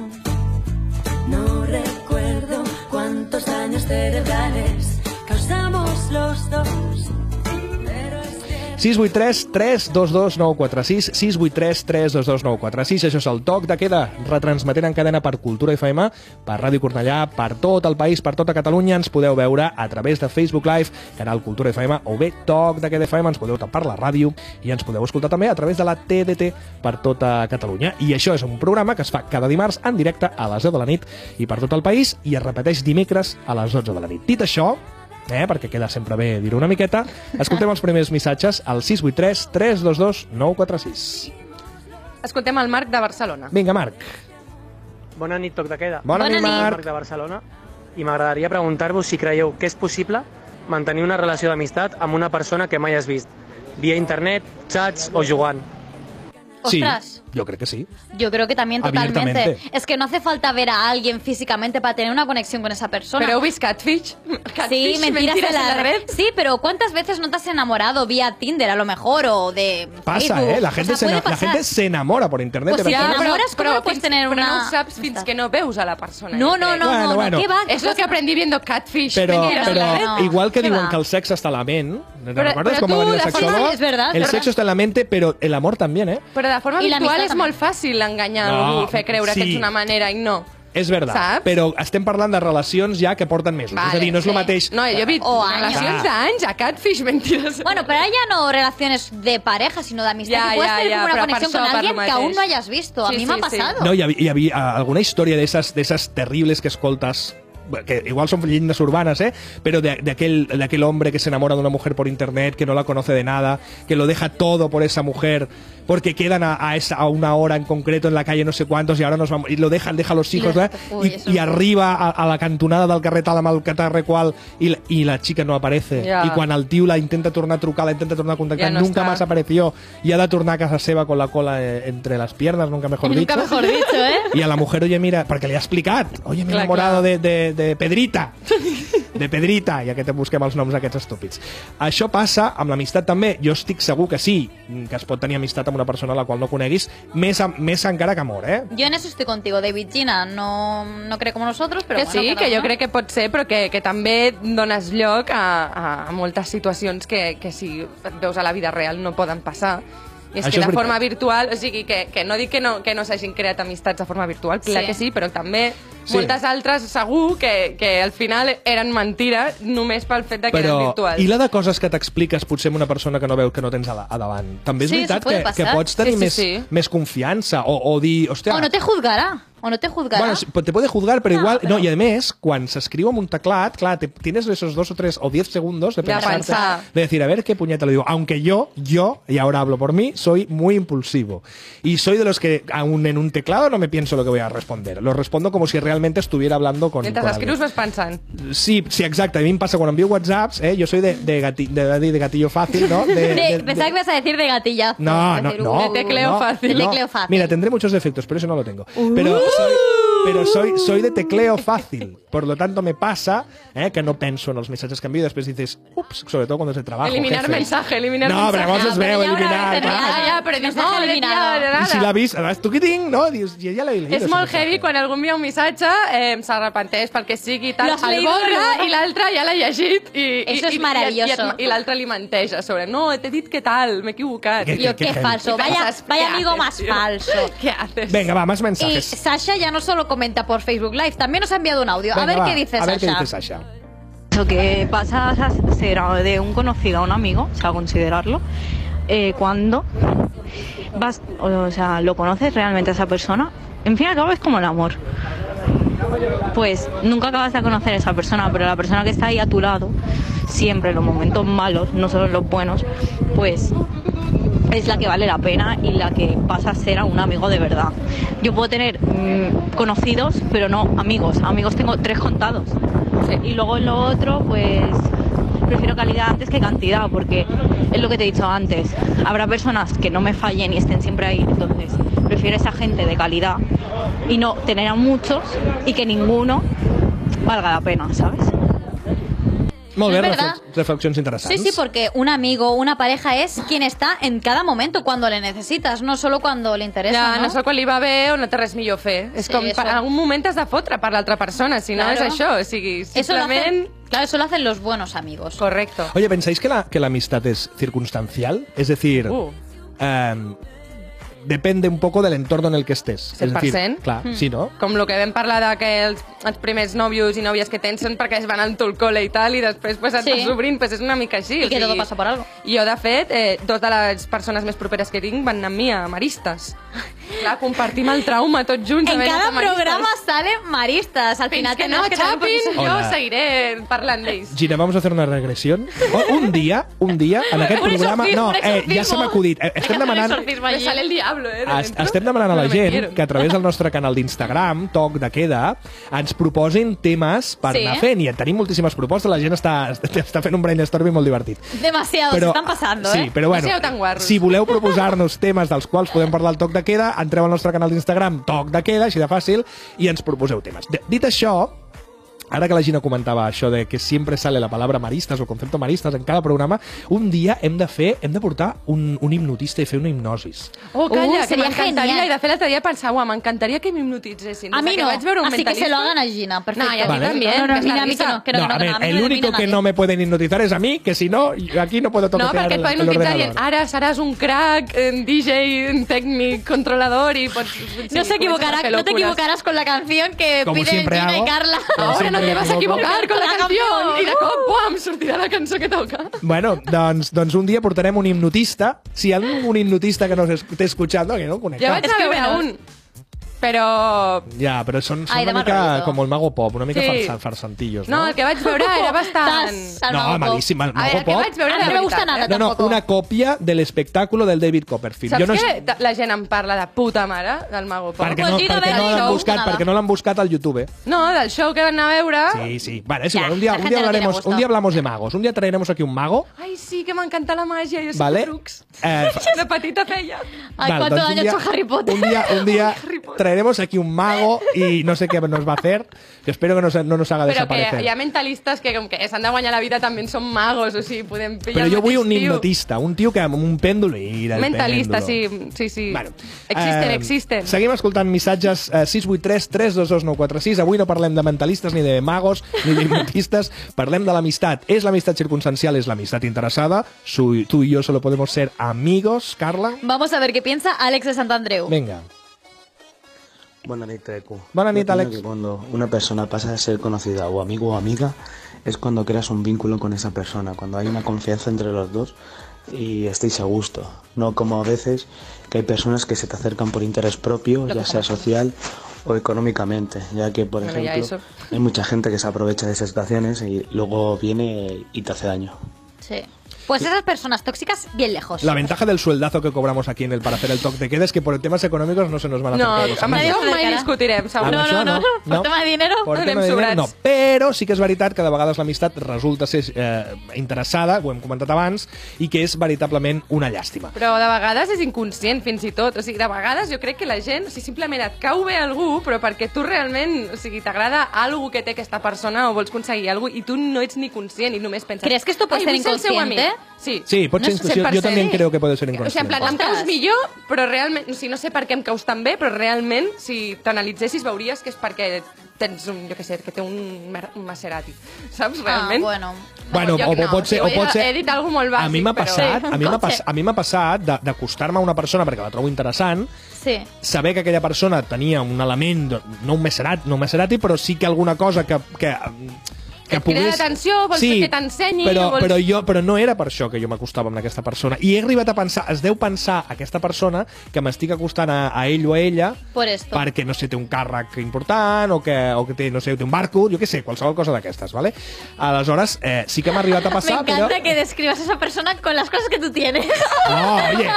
No recuerdo cuántos daños cerebrales causamos los dos. Pero es que 683 322 946 683 322 946 Això és el toc de queda retransmetent en cadena per Cultura FM, per Ràdio Cornellà, per tot el país, per tota Catalunya. Ens podeu veure a través de Facebook Live, canal Cultura FM o bé Toc de Queda FM. Ens podeu tapar la ràdio i ens podeu escoltar també a través de la TDT per tota Catalunya. I això és un programa que es fa cada dimarts en directe a les 10 de la nit i per tot el país i es repeteix dimecres a les 12 de la nit. Dit això, eh, perquè queda sempre bé dir una miqueta, escoltem els primers missatges al 683 322 946. Escoltem el Marc de Barcelona. Vinga, Marc. Bona nit, toc de queda. Bona, Bona nit, nit. Marc. Marc de Barcelona. I m'agradaria preguntar-vos si creieu que és possible mantenir una relació d'amistat amb una persona que mai has vist, via internet, xats o jugant. Sí. Ostras. Yo creo que sí. Yo creo que también totalmente. Abiertamente. Es que no hace falta ver a alguien físicamente para tener una conexión con esa persona. Pero heu vist Catfish? sí, (laughs) Catfish, mentiras, en la, red. red. Sí, pero ¿cuántas veces no te has enamorado vía Tinder a lo mejor o de Pasa, Facebook? ¿eh? La O gente, sea, se, puede ena- la pasar. gente se enamora por internet. Pues de sí, personas. ahora- enamores, ¿cómo no però, puedes fins, tener però una- no ho saps no fins está. que no veus a la persona. No, jo no, crec. no, Bueno, no, bueno. ¿qué va? És el que aprendí viendo Catfish. Però, Mentiras, però la red. igual que ¿Qué diuen va? que el sexe está en la ment, ¿no Però- recordes però com va tu, venir el de sexólogo? forma- és verdad, el és sexo verdad. está en la mente, pero el amor también, ¿eh? Però de forma I virtual l'amistat és també. molt fàcil enganyar No, algú i fer creure que sí. ets una manera i no. És verdad, Saps? però estem parlant de relacions ja que porten mesos. és a dir, no és el sí. mateix... No, jo he vist O anys. relacions d'anys a Catfish, mentires. (laughs) Bueno, pero ahora ya no relaciones de pareja, sino de amistad. Ya, que puedes ya, tener ya, como una pero conexión per con això alguien parlo que aún mateix. no hayas visto. A Sí, mí me ha sí, sí. pasado. No, hi havia, hi havia eh, alguna història d'esses d'esses terribles que escoltes que igual son leyendas urbanas, ¿eh? Pero de, de aquel, de aquel hombre que se enamora de una mujer por internet, que no la conoce de nada, que lo deja todo por esa mujer, porque quedan a, a esa, a una hora en concreto en la calle no sé cuántos y ahora nos vamos, y lo dejan, deja a los hijos, deja- ¿verdad? Uy, y, eso y no. arriba a, a la cantonada del carrer tal, amb el catarre qual, y la, y la chica no aparece. Ja. Y cuando el tío la intenta tornar a trucar, la intenta tornar a contactar, Ja no nunca està. más apareció, y ha de tornar a casa seva con la cola eh, entre las piernas, nunca mejor Nunca dicho. mejor dicho, ¿eh? Y a la mujer, oye, mira, porque le ha explicado. Oye, me he Clar, enamorado clar. De, de, de Pedrita. De Pedrita, ja que te busquem els noms aquests estúpids. Això passa amb l'amistat també. Jo estic segur que sí, que es pot tenir amistat amb una persona a la qual no coneguis, més, am- més encara que amor, eh? Yo en eso estoy contigo, David Gina. No, no cree como nosotros, pero que bueno, sí, cada que jo uno. crec que pot ser, però que, que també dones lloc a, a, a moltes situacions que, que si et veus a la vida real no poden passar. I és Això Això que de és veritat. forma virtual, o sigui, que, que no dic que no, que no s'hagin creat amistats de forma virtual, clar sí. Sí. que sí, però també Sí. sí. moltes altres segur que, que al final eren mentira només pel fet de que eren virtuals. i la de coses que t'expliques potser amb una persona que no veus que no tens a, la, a davant. També és Sí, veritat això puede que, que passar. pots tenir Sí, sí, més, sí. més confiança o, o dir, hòstia... O no te juzgará. O no te juzgará. (laughs) Bueno, sí, pues te puede juzgar, pero No, igual... pero- No, y además, cuando se escribe en un teclat, claro, te- tienes esos dos o tres o diez segundos de De pensarte, pensar. de decir, a ver qué puñeta lo digo. Aunque yo, yo, y ahora hablo por mí, soy muy impulsivo. Y soy de los que, aún en un teclado, no me pienso lo que voy a responder. Lo respondo como si realmente estuviera hablando con... Mentre con alguien. escrius vas pensant. Sí, sí, exacte. A mi em passa quan envio whatsapps, eh? Jo soy de, de, gati, de, de gatillo fàcil, (laughs) no? De, De- eh, de- pensaba que de- ibas a decir de gatilla. No, no, no. De tecleo no, fácil. De no. tecleo fácil. Uh. Mira, tendré muchos defectos, pero eso no lo tengo. Pero, soy, pero soy, soy de tecleo fácil. Por lo tanto, me pasa eh, que no penso en los mensajes que envío y después dices, ups, sobre todo cuando es de trabajo. Eliminar jefe. mensaje, eliminar no, mensaje. No, però llavors es No, però veu, ja ho eliminar. hauràs de clar. triar. Ah, ja, però dius, Mensaje no, hombre, tia, eliminado. I nada. si l'avís, tu qui tinc? No, dius, jo ja l'he leído. És ese molt mensaje. heavy quan algú envia un missatge, eh, s'arrepenteix pel que sigui, i tal, L'has el leído, borra no? i l'altre ja l'ha llegit i, i, Eso es i, maravilloso. i, i, i l'altre li menteix a sobre. No, t'he dit que tal, m'he equivocat. Que- Y yo, que- qué que- falso. Vaya, Pensas, vaya ¿qué amigo haces, más tío? falso. ¿Qué haces? Venga, va, más (laughs) Y mensajes. Sasha ya no solo comenta por Facebook Live, también nos ha enviado un audio. a Venga, ver va, qué dice A ver qué Sasha. dice Sasha. Lo que pasa a ser de un conocido a un amigo, o sea, considerarlo, eh, cuando vas, o sea, lo conoces realmente a esa persona, en fin y al cabo es como el amor. Pues nunca acabas de conocer a esa persona, pero la persona que está ahí a tu lado, siempre en los momentos malos, no solo en los buenos, pues es la que vale la pena y la que pasa a ser a un amigo de verdad. Yo puedo tener mm, conocidos, pero no amigos. Amigos tengo tres contados. Y luego en lo otro, pues prefiero calidad antes que cantidad, porque es lo que te he dicho antes. Habrá personas que no me fallen y estén siempre ahí, entonces prefiero esa gente de calidad y no tener a muchos y que ninguno valga la pena, ¿sabes? Molt És bé, verdad. reflex- reflexions interessants. Sí, sí, porque un amigo, una pareja es quien está en cada momento cuando le necesitas, no solo cuando le interesa. Ja, no, ¿no? sé quan li va bé o no té res millor fer. És Sí, com, eso. per, en algun moment has de fotre per l'altra persona, si no és Claro. això. O sigui, Eso lo simplement... hacen, claro, eso lo hacen los buenos amigos. Correcto. Oye, ¿pensáis que la, que la amistad es circunstancial? Es decir, Uh. em, depende un poco del entorno en el que estés. Es decir, 100%? clar, sí, ¿no? com el que vam parlar de que els, els primers nòvios i nòvies que tens són perquè es van al teu col·le i tal, i després pues, et Sí. sí. vas obrint, pues, és una mica així. I que todo pasa por algo. Jo, de fet, eh, dos de les persones més properes que tinc van anar amb mi a Maristes. clar, compartim el trauma tots junts. En havent cada anat a Maristes. programa salen maristas. Al Fins final que no tenemos que tener un xapin, poquito- jo Hola. seguiré parlant d'ells. Gina, vamos a hacer una regresión. O, un dia, un dia, en aquest Un programa... exorcismo, No, un eh, ja se m'ha acudit. Eh, Estem demanant... Me sale el diablo, eh? de Es- dentro. Estem demanant a la No me gent quiero. que a través del nostre canal d'Instagram, Toc de Queda, ens proposin temes per Sí. anar fent. I en tenim moltíssimes propostes. La gent està, està fent un brainstorming molt divertit. Demasiado, se están pasando, sí, ¿eh? Però, bueno, No sigueu tan guarros. Si voleu proposar-nos temes dels quals podem parlar al Toc de Queda, entreu al nostre canal d'Instagram, Toc de Queda, així de fàcil, i ens proposeu temes. De- Dit això, Ara que la Gina comentava això de que sempre sale la palabra maristes o el concepte maristes en cada programa, un dia hem de fer, hem de portar un, un hipnotista i fer una hipnosis. Oh, Uh, calla, que seria m'encantaria. genial. I de fet l'altre dia pensava, uau, m'encantaria que m'hipnotitzessin. A Des mí que no, vaig veure un así que se mentalista- lo hagan a Gina, perfecto. No, y a ti Vale. también, No, no, que es no, la a mí que risa. no, que no, no, que no, a que ver, no, a mí el no me único viene que nadie. no me pueden hipnotizar es a mí, que si no, yo aquí no puedo No, tocar perquè et poden hipnotitzar dient, Ah. ara seràs un crack, un DJ, un tècnic, controlador i pots... No se equivocará, no te equivocarás con la canción que Como piden siempre Gina hago. y Carla. Como Ahora (laughs) no siempre te vas a me equivoco. equivocar con la La canció. canción. I de cop, pam, sortirà la cançó que toca. Bueno, doncs, doncs un dia portarem un hipnotista. Si hi ha algun hipnotista que nos esté escuchando, que no conecta. Ja vaig anar a veure Escriu-nos. un. Però... Ja, però són, són Ai, una demà mica reviso. com el Mago Pop, una mica Sí. farsa- farsantillos, No, no? el que vaig veure (laughs) era bastant... Estás al No, mago. malíssim, el A Mago veure, el que Pop. vaig veure A mí era no me gusta veritat, eh? No, nada no, tampoco. una còpia de l'espectacle del David Copperfield. Saps jo no que sé- ta- la gent em parla de puta mare del Mago Pop? Perquè Pues no, Gina perquè no Belli l'han no buscat, nada. Ah. perquè no l'han buscat al YouTube. ¿eh? No, del show que van anar a veure... Sí, sí. Vale, es Ya, igual, un día, la un día gente no tiene hablaremos, gusto. un día hablamos de magos. Un día traeremos aquí un mago, Ai, sí, que m'encanta la màgia, jo sé ¿vale? trucs. (laughs) Eh, fa- De petita feia. Ay, Vale, doncs cuánto un daño ha día- hecho Harry Potter. Un día, un (laughs) día traeremos aquí un mago y no sé qué nos va a hacer. Yo espero que no, se- no nos haga Però que desaparecer. hi ha mentalistes que com que s'han de guanyar la vida també són magos, o sigui, podem pillar Pero yo voy a un hipnotista. hipnotista, un tío que amb un péndulo y del Mentalista, péndulo. sí, sí, sí. Bueno, existen, eh, existen. Seguim escoltant missatges eh, 683 322 946. Avui no parlem de mentalistes, ni de magos, ni d'hipnotistes. (laughs) parlem de l'amistat. És l'amistat circumstancial, és l'amistat interessada. Su, tu i jo solo podemos ser amigos, Carla. Vamos a ver qué piensa Alex de Santandreu. Venga. Buenas noches, Tecu. Buenas noches, Yo opino Alex. que cuando una persona pasa de ser conocida o amigo o amiga, es cuando creas un vínculo con esa persona, cuando hay una confianza entre los dos y estéis a gusto. No como a veces que hay personas que se te acercan por interés propio, ya sea social o económicamente, ya que, por Bueno, ya ejemplo, eso. hay mucha gente que se aprovecha de esas situaciones y luego viene y te hace daño. Sí. Pues esas personas tóxicas, bien lejos. La ventaja del sueldazo que cobramos aquí en el para hacer el toque de queda es que por temas económicos no se nos van a No, acercar los amb amigos. això Nadie se mai dedicarà. discutirem, segur. Amb No, això no, no, no. Per tema de dinero, Per anem tema de dinero, sobrats. no. Però sí que és veritat que de vegades l'amistat resulta ser eh, interessada, ho hem comentat abans, i que és veritablement una llàstima. Però de vegades és inconscient, fins i tot. O sigui, de vegades jo crec que la gent, o sigui, simplement et cau bé algú, però perquè tu realment, o sigui, t'agrada algú que té aquesta persona o vols aconseguir algú i tu no ets ni conscient i només penses... ¿Crees que esto puede "Ai, ser vull el seu inconsciente? amic". Sí. Sí, pot No ser és inconscient. Jo 100%. també crec que pot ser O sigui, en plan, em inconscient. caus Ostres. millor, però realment... O sigui, no sé per què em caus tan bé, però realment, si t'analitzessis, veuries que és perquè tens un, jo què sé, que té un, Mer- un Maserati, saps, Ah, realment? bueno. Bueno, jo o, no, o pot ser... jo O he- pot ser he dit alguna molt bàsic, a mi m'ha però- passat, Sí, a mi m'ha pot pas, ser. a mi m'ha passat de- d'acostar-me a una persona perquè la trobo interessant, Sí. saber que aquella persona tenia un element, de- no un meserat, no un meserati, però sí que alguna cosa que... que mm, que Et crida l'atenció, vols que t'ensenyi, però, vols- però, jo, però no era per això que jo m'acostava amb aquesta persona. I he arribat a pensar, es deu pensar aquesta persona que m'estic acostant a, a ell o a ella Por esto. perquè, no sé, té un càrrec important o que, o que té, no sé, té un barco, jo què sé, qualsevol cosa d'aquestes, ¿vale? Aleshores, eh, sí que m'ha arribat a (laughs) Me passar, encanta però... que describas a esa persona con las cosas que (laughs) tú tienes. No, oye,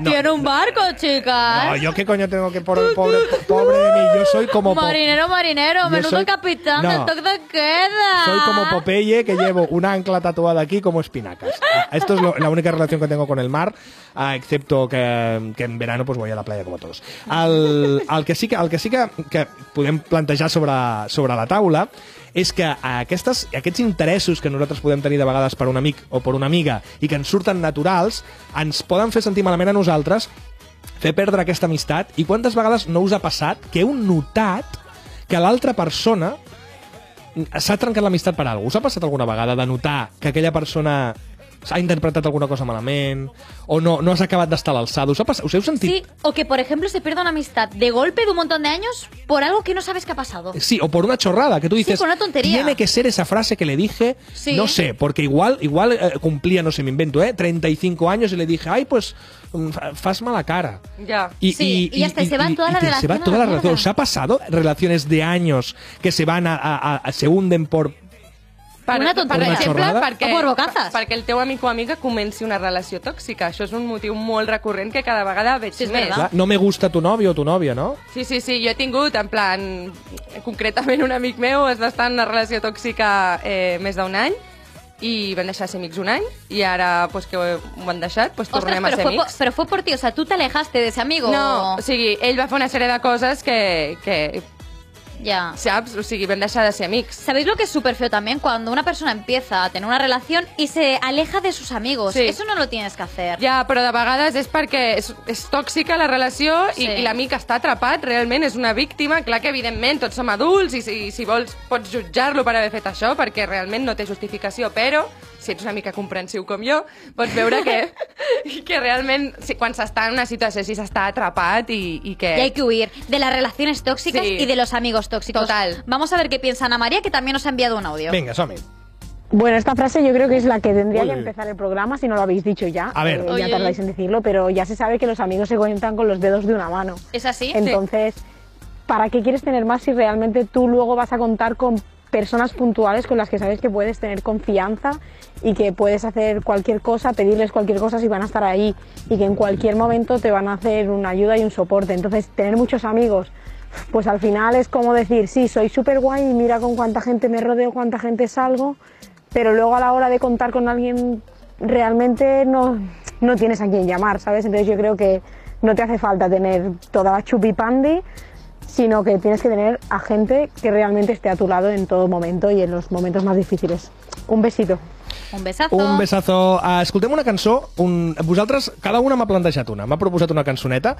No. Tiene un barco, chicas. no, yo qué coño tengo que... Pobre, pobre, pobre de mí, yo soy como... po- Marinero, marinero, Yo menudo soy- capitán No. del toque de queda. Soy como Popeye, que llevo una ancla tatuada aquí como espinacas. Ah, Esto es lo- la única relación que tengo con el mar, ah, excepto que, que en verano pues voy a la playa como todos. El, el que sí que, el que, sí que, que podem plantejar sobre, sobre la taula és que aquestes, aquests interessos que nosaltres podem tenir de vegades per un amic o per una amiga i que ens surten naturals, ens poden fer sentir malament a nosaltres fer perdre aquesta amistat i quantes vegades no us ha passat que heu notat que l'altra persona s'ha trencat l'amistat per alguna cosa. Us ha passat alguna vegada de notar que aquella persona s'ha interpretat alguna cosa malament, o no, no has acabat d'estar a l'alçada. Us, ha passat- us heu sentit Sí, o que por ejemplo se pierda una amistad de golpe de un montón de años por algo que no sabes que ha pasado. Sí, o por una chorrada que tú dices. por una tontería. Tiene que ser esa frase que le dije. Sí. No sé, porque igual, igual eh, cumplía, no sé, me invento, ¿eh? 35 años y le dije, ay, pues, mm, fa- faz mala cara. Ya. Sí, y hasta se va toda la te- Se relación va a la toda la mierda. relación. ¿Os ha pasado relaciones de años que se van a. a- a- se hunden por. Per, Una tonteria. Per exemple, Una xorrada? perquè, O por bocazas. perquè el teu amic o amiga comenci una relació tòxica. Això és un motiu molt recurrent que cada vegada veig Sí, és més. verdad. Ah. No me gusta tu novio o tu novia, ¿no? Sí, sí, sí, jo he tingut, en plan, concretament un amic meu es va estar en una relació tòxica eh, més d'un any i van deixar de ser amics un any i ara pues, que ho han deixat pues, Ostras, tornem pero a ser fue, por, amics. pero fue por ti, o sea, tú te alejaste de ese amigo. No, o sigui, ell va fer una sèrie de coses que, que Ya. saps? O sigui, vam deixar de ser amics. ¿Sabéis lo que es súper feo también? Cuando una persona empieza a tener una relación y se aleja de sus amigos. Sí. Eso no lo tienes que hacer. Ja, però de vegades és perquè és, és tòxica la relació sí. Sí. i, i l'amic està atrapat, realment és una víctima. Clar que, evidentment, tots som adults i, si, si vols pots jutjar-lo per haver fet això perquè realment no té justificació, però si ets una mica comprensiu com jo, pots veure (laughs) que, que realment si, quan s'està en una situació així s'està atrapat i, i que... Y hay que huir de las relaciones tóxicas Sí. y de los amigos tóxicos. Total. Vamos a ver qué piensa Ana María, que también nos ha enviado un audio. Venga, Somi. Bueno, esta frase yo creo que es la que tendría Uy, que uy, uy. empezar el programa, si no lo habéis dicho ya. A ver. Eh, Uy, ya uy, tardáis en decirlo, pero ya se sabe que los amigos se cuentan con los dedos de una mano. ¿Es así? Entonces, ¿para qué quieres tener más si realmente tú luego vas a contar con personas puntuales con las que sabes que puedes tener confianza y que puedes hacer cualquier cosa, pedirles cualquier cosa si van a estar ahí y que en cualquier momento te van a hacer una ayuda y un soporte? Entonces, tener muchos amigos, pues al final es como decir, sí, soy súper guay y mira con cuánta gente me rodeo, cuánta gente salgo, pero luego a la hora de contar con alguien realmente no, no tienes a quien llamar, ¿sabes? Entonces yo creo que no te hace falta tener toda la chupipandi, sino que tienes que tener a gente que realmente esté a tu lado en todo momento y en los momentos más difíciles. Un besito. Un besazo. Un besazo. Uh, escoltem una cançó. Un... Vosaltres, cada una m'ha plantejat una. M'ha proposat una cançoneta.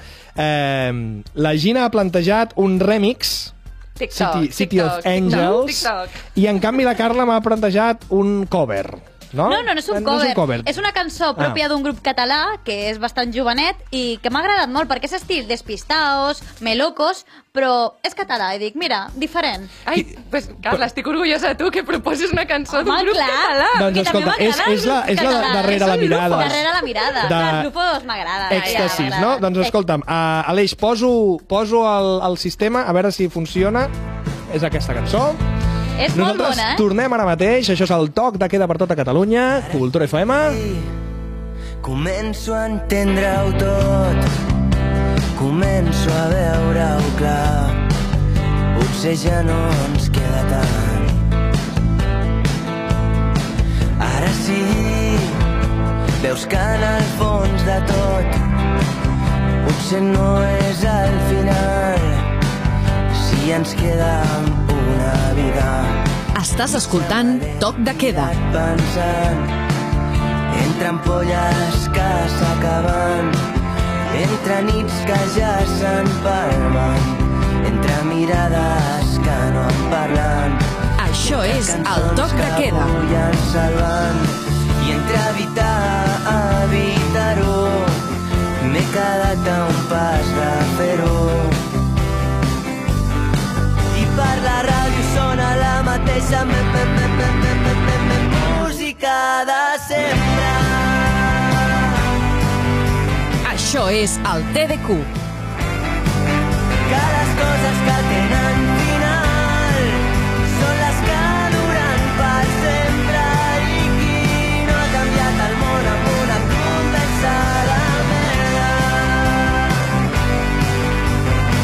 Eh, la Gina ha plantejat un remix. TikTok, City, City TikTok, of Angels. TikTok, I en canvi la Carla m'ha plantejat un cover. No? No, no, no és un cover. No és un cover. Ah. És una cançó pròpia d'un grup català que és bastant jovenet i que m'ha agradat molt perquè és estil despistaos, melocos, però és català i dic, mira, diferent. Ai, pues, Carla, estic orgullosa de tu que proposis una cançó d'un Home, grup clar. català. Doncs que també escolta, és- m'agrada el és la- grup és la català. darrere És un la mirada. grupo. Darrere la mirada. De- Els grupos m'agrada. Èxtasis, no? Doncs escolta'm, uh, Aleix, poso, poso el, el sistema, a veure si funciona. És aquesta cançó. És molt Nosaltres bona, eh? tornem ara mateix. Això és el toc de queda per tota Catalunya. Cultura FM. Començo a entendre-ho tot Començo a veure-ho clar Potser ja no ens queda tant Ara sí Veus que en el fons de tot Potser no és el final Si ens queda una vida Estàs escoltant Toc de Queda. Pensant entre ampolles que s'acaben, entre nits que ja s'empalmen, entre mirades que no en parlen, Això és el Toc de que Queda. avui ens salven. I entre evitar, evitar-ho, m'he quedat a un pas de fer-ho. I per la ràdio sona la mateixa me, me, me, me, me, me, me, me, música de sempre. Això és el TDQ. Que les coses que tenen final són les que duran per sempre. I qui no ha canviat el món amb una conversa de merda.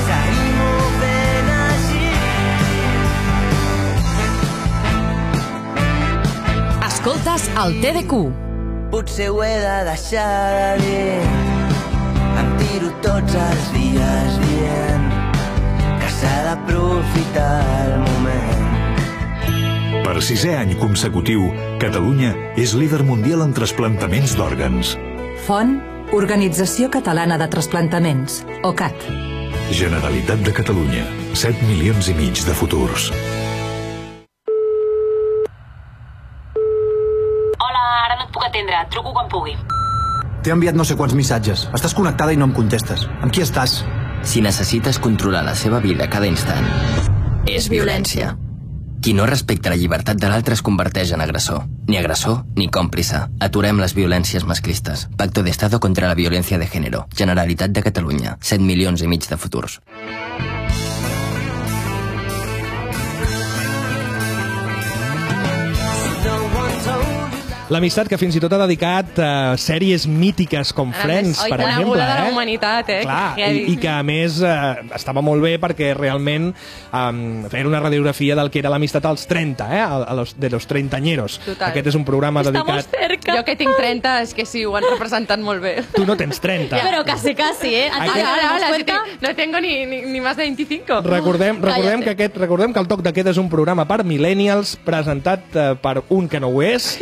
Seguim-ho fent així. Escoltes el TDQ. Potser ho he de deixar de dir Em tiro tots els dies dient Que s'ha d'aprofitar el moment Per sisè any consecutiu, Catalunya és líder mundial en trasplantaments d'òrgans. Font, Organització Catalana de Transplantaments, OCAT. Generalitat de Catalunya. 7 milions i mig de futurs. Hola, no et puc atendre. Et truco quan pugui. T'he enviat no sé quants missatges. Estàs connectada i no em contestes. Amb qui estàs? Si necessites controlar la seva vida cada instant, és violència. Qui no respecta la llibertat de l'altre es converteix en agressor. Ni agressor, ni còmplice. Aturem les violències masclistes. Pacto d'Estado contra la violència de género. Generalitat de Catalunya. 7 milions i mig de futurs. L'amistat que fins i tot ha dedicat a sèries mítiques com Friends, Ai, per quina exemple. volada de la Eh? humanitat, eh? Clar, Que i, heavy. i que a més eh, estava molt bé perquè realment um, era una radiografia del que era l'amistat als 30, eh? A, a los, de los treintañeros. Total. Aquest és un programa dedicat... cerca. Jo que tinc 30 és que sí, ho han representat molt (laughs) bé. Tu no tens 30. Pero casi, casi, ¿eh? Ara, ara, Antes dábamos ara, si cuenta. tinc- no tengo ni, ni, ni más de 25. Recordem, recordem, que aquest, recordem que el Toc de Queda és un programa per millennials presentat eh, per un que no ho és,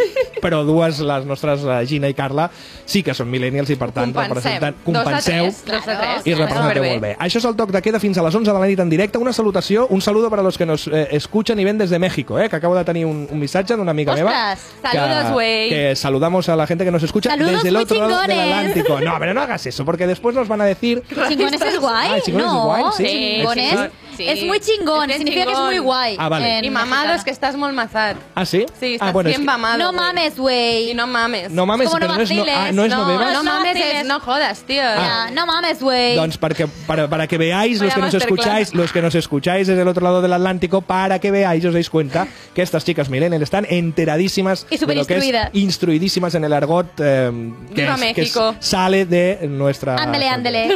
però dues, les nostres, eh, Gina i Carla, sí que són millennials i per tant representen... Compenseu Dos de tres. Dos de tres. i representeu molt bé. Això és el Toc de Queda fins a les 11 de la nit en directe. Una salutació, un saludo per a los que nos eh, escuchan y ven desde México, eh, que acabo de tenir un, un missatge d'una amiga Ostres, meva. saludos, que, güey. Que saludamos a la gente que nos escucha Saludos desde el muy otro lado del chingones. Atlántico. No, pero no hagas eso, porque después nos van a decir... ¿Chingones es guay? Ah, chingones no, es guay, sí. chingones Sí. es muy chingón, Es significa que es chingón. muy guay. Ah, vale. I mamado és que estàs molt mazat. ¿Ah, sí? Sí, ah, estàs bueno, es bien que- mamado. No mames, güey. Y no mames. No mames, Como pero no es no- vaciles. ah, no es no bebas. No mames, es no jodas, tío. Ah. No mames, güey. Doncs perquè, para, para que veáis los Vaya que nos masterclass. escucháis, los que nos escucháis desde el otro lado del Atlántico, para que veáis, os dais cuenta que estas chicas millennial están enteradísimas Y de lo que es superinstruidas. instruidísimas en el argot eh, que, Viva es- que es- México. sale de nuestra... Ándale, ándale.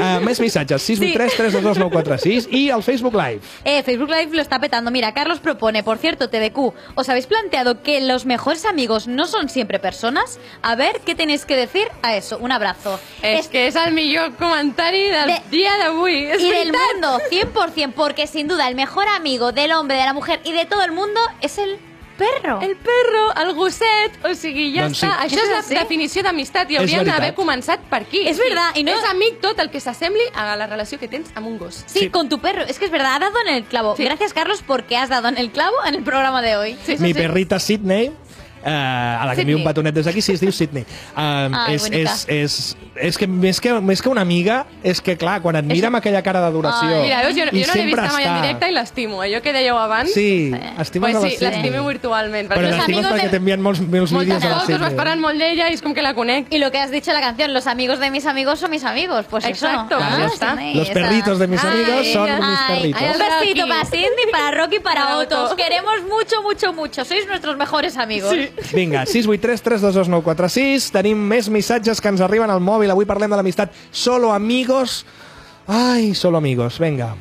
Ah, més missatges, 683 322 946 i el Facebook Live. Eh, Facebook Live lo está petando. Mira, Carlos propone, por cierto, TDQ, ¿os habéis planteado que los mejores amigos no son siempre personas? A ver, ¿qué tenéis que decir a eso? Un abrazo. És que és el millor comentari del dia d'avui. És Y del veritat. mundo, 100%, porque sin duda el mejor amigo del hombre, de la mujer y de todo el mundo es el perro. El perro, el gosset, o sigui, ja Doncs sí. està. Això Això és és la així? definició d'amistat i És hauríem veritat. d'haver començat per aquí. És verdad, i I no- no... És amic tot el que s'assembli a la relació que tens amb un gos. Sí, con tu perro. Es que es verdad, ha dado en el clavo. Gracias, Carlos, porque has dado en el clavo en el programa de hoy. Mi perrita Sydney, eh, a la que envio un Sydney. petonet des d'aquí, sí, es diu Sydney. Um, Ah, Ai, és, bonica. és, és, és que més, que més que una amiga, és que clar, quan et mira amb aquella cara d'adoració... Mira, veus, jo, i jo no l'he sempre vist mai en està- directe i l'estimo, allò que dèieu abans. Sí, estimes pues a la sí, Sydney. l'estimo virtualment. Però l'estimes perquè t'envien molts, molts vídeos a la fotos, vas Sydney. parlant molt d'ella i és com que la conec. Y lo que has dicho en la canción, los amigos de mis amigos son mis amigos. Pues Exacto, eso. pues ya está. sí, Los esa- perritos de mis amigos son mis perritos. un besito para Cindy, para Rocky, para Para Otto. Otto. Os queremos mucho, mucho, mucho. Sois nuestros mejores amigos. Vinga, 683 322 946. Tenim més missatges que ens arriben al mòbil. Avui parlem de l'amistat. Solo amigos. Ai, solo amigos. Vinga.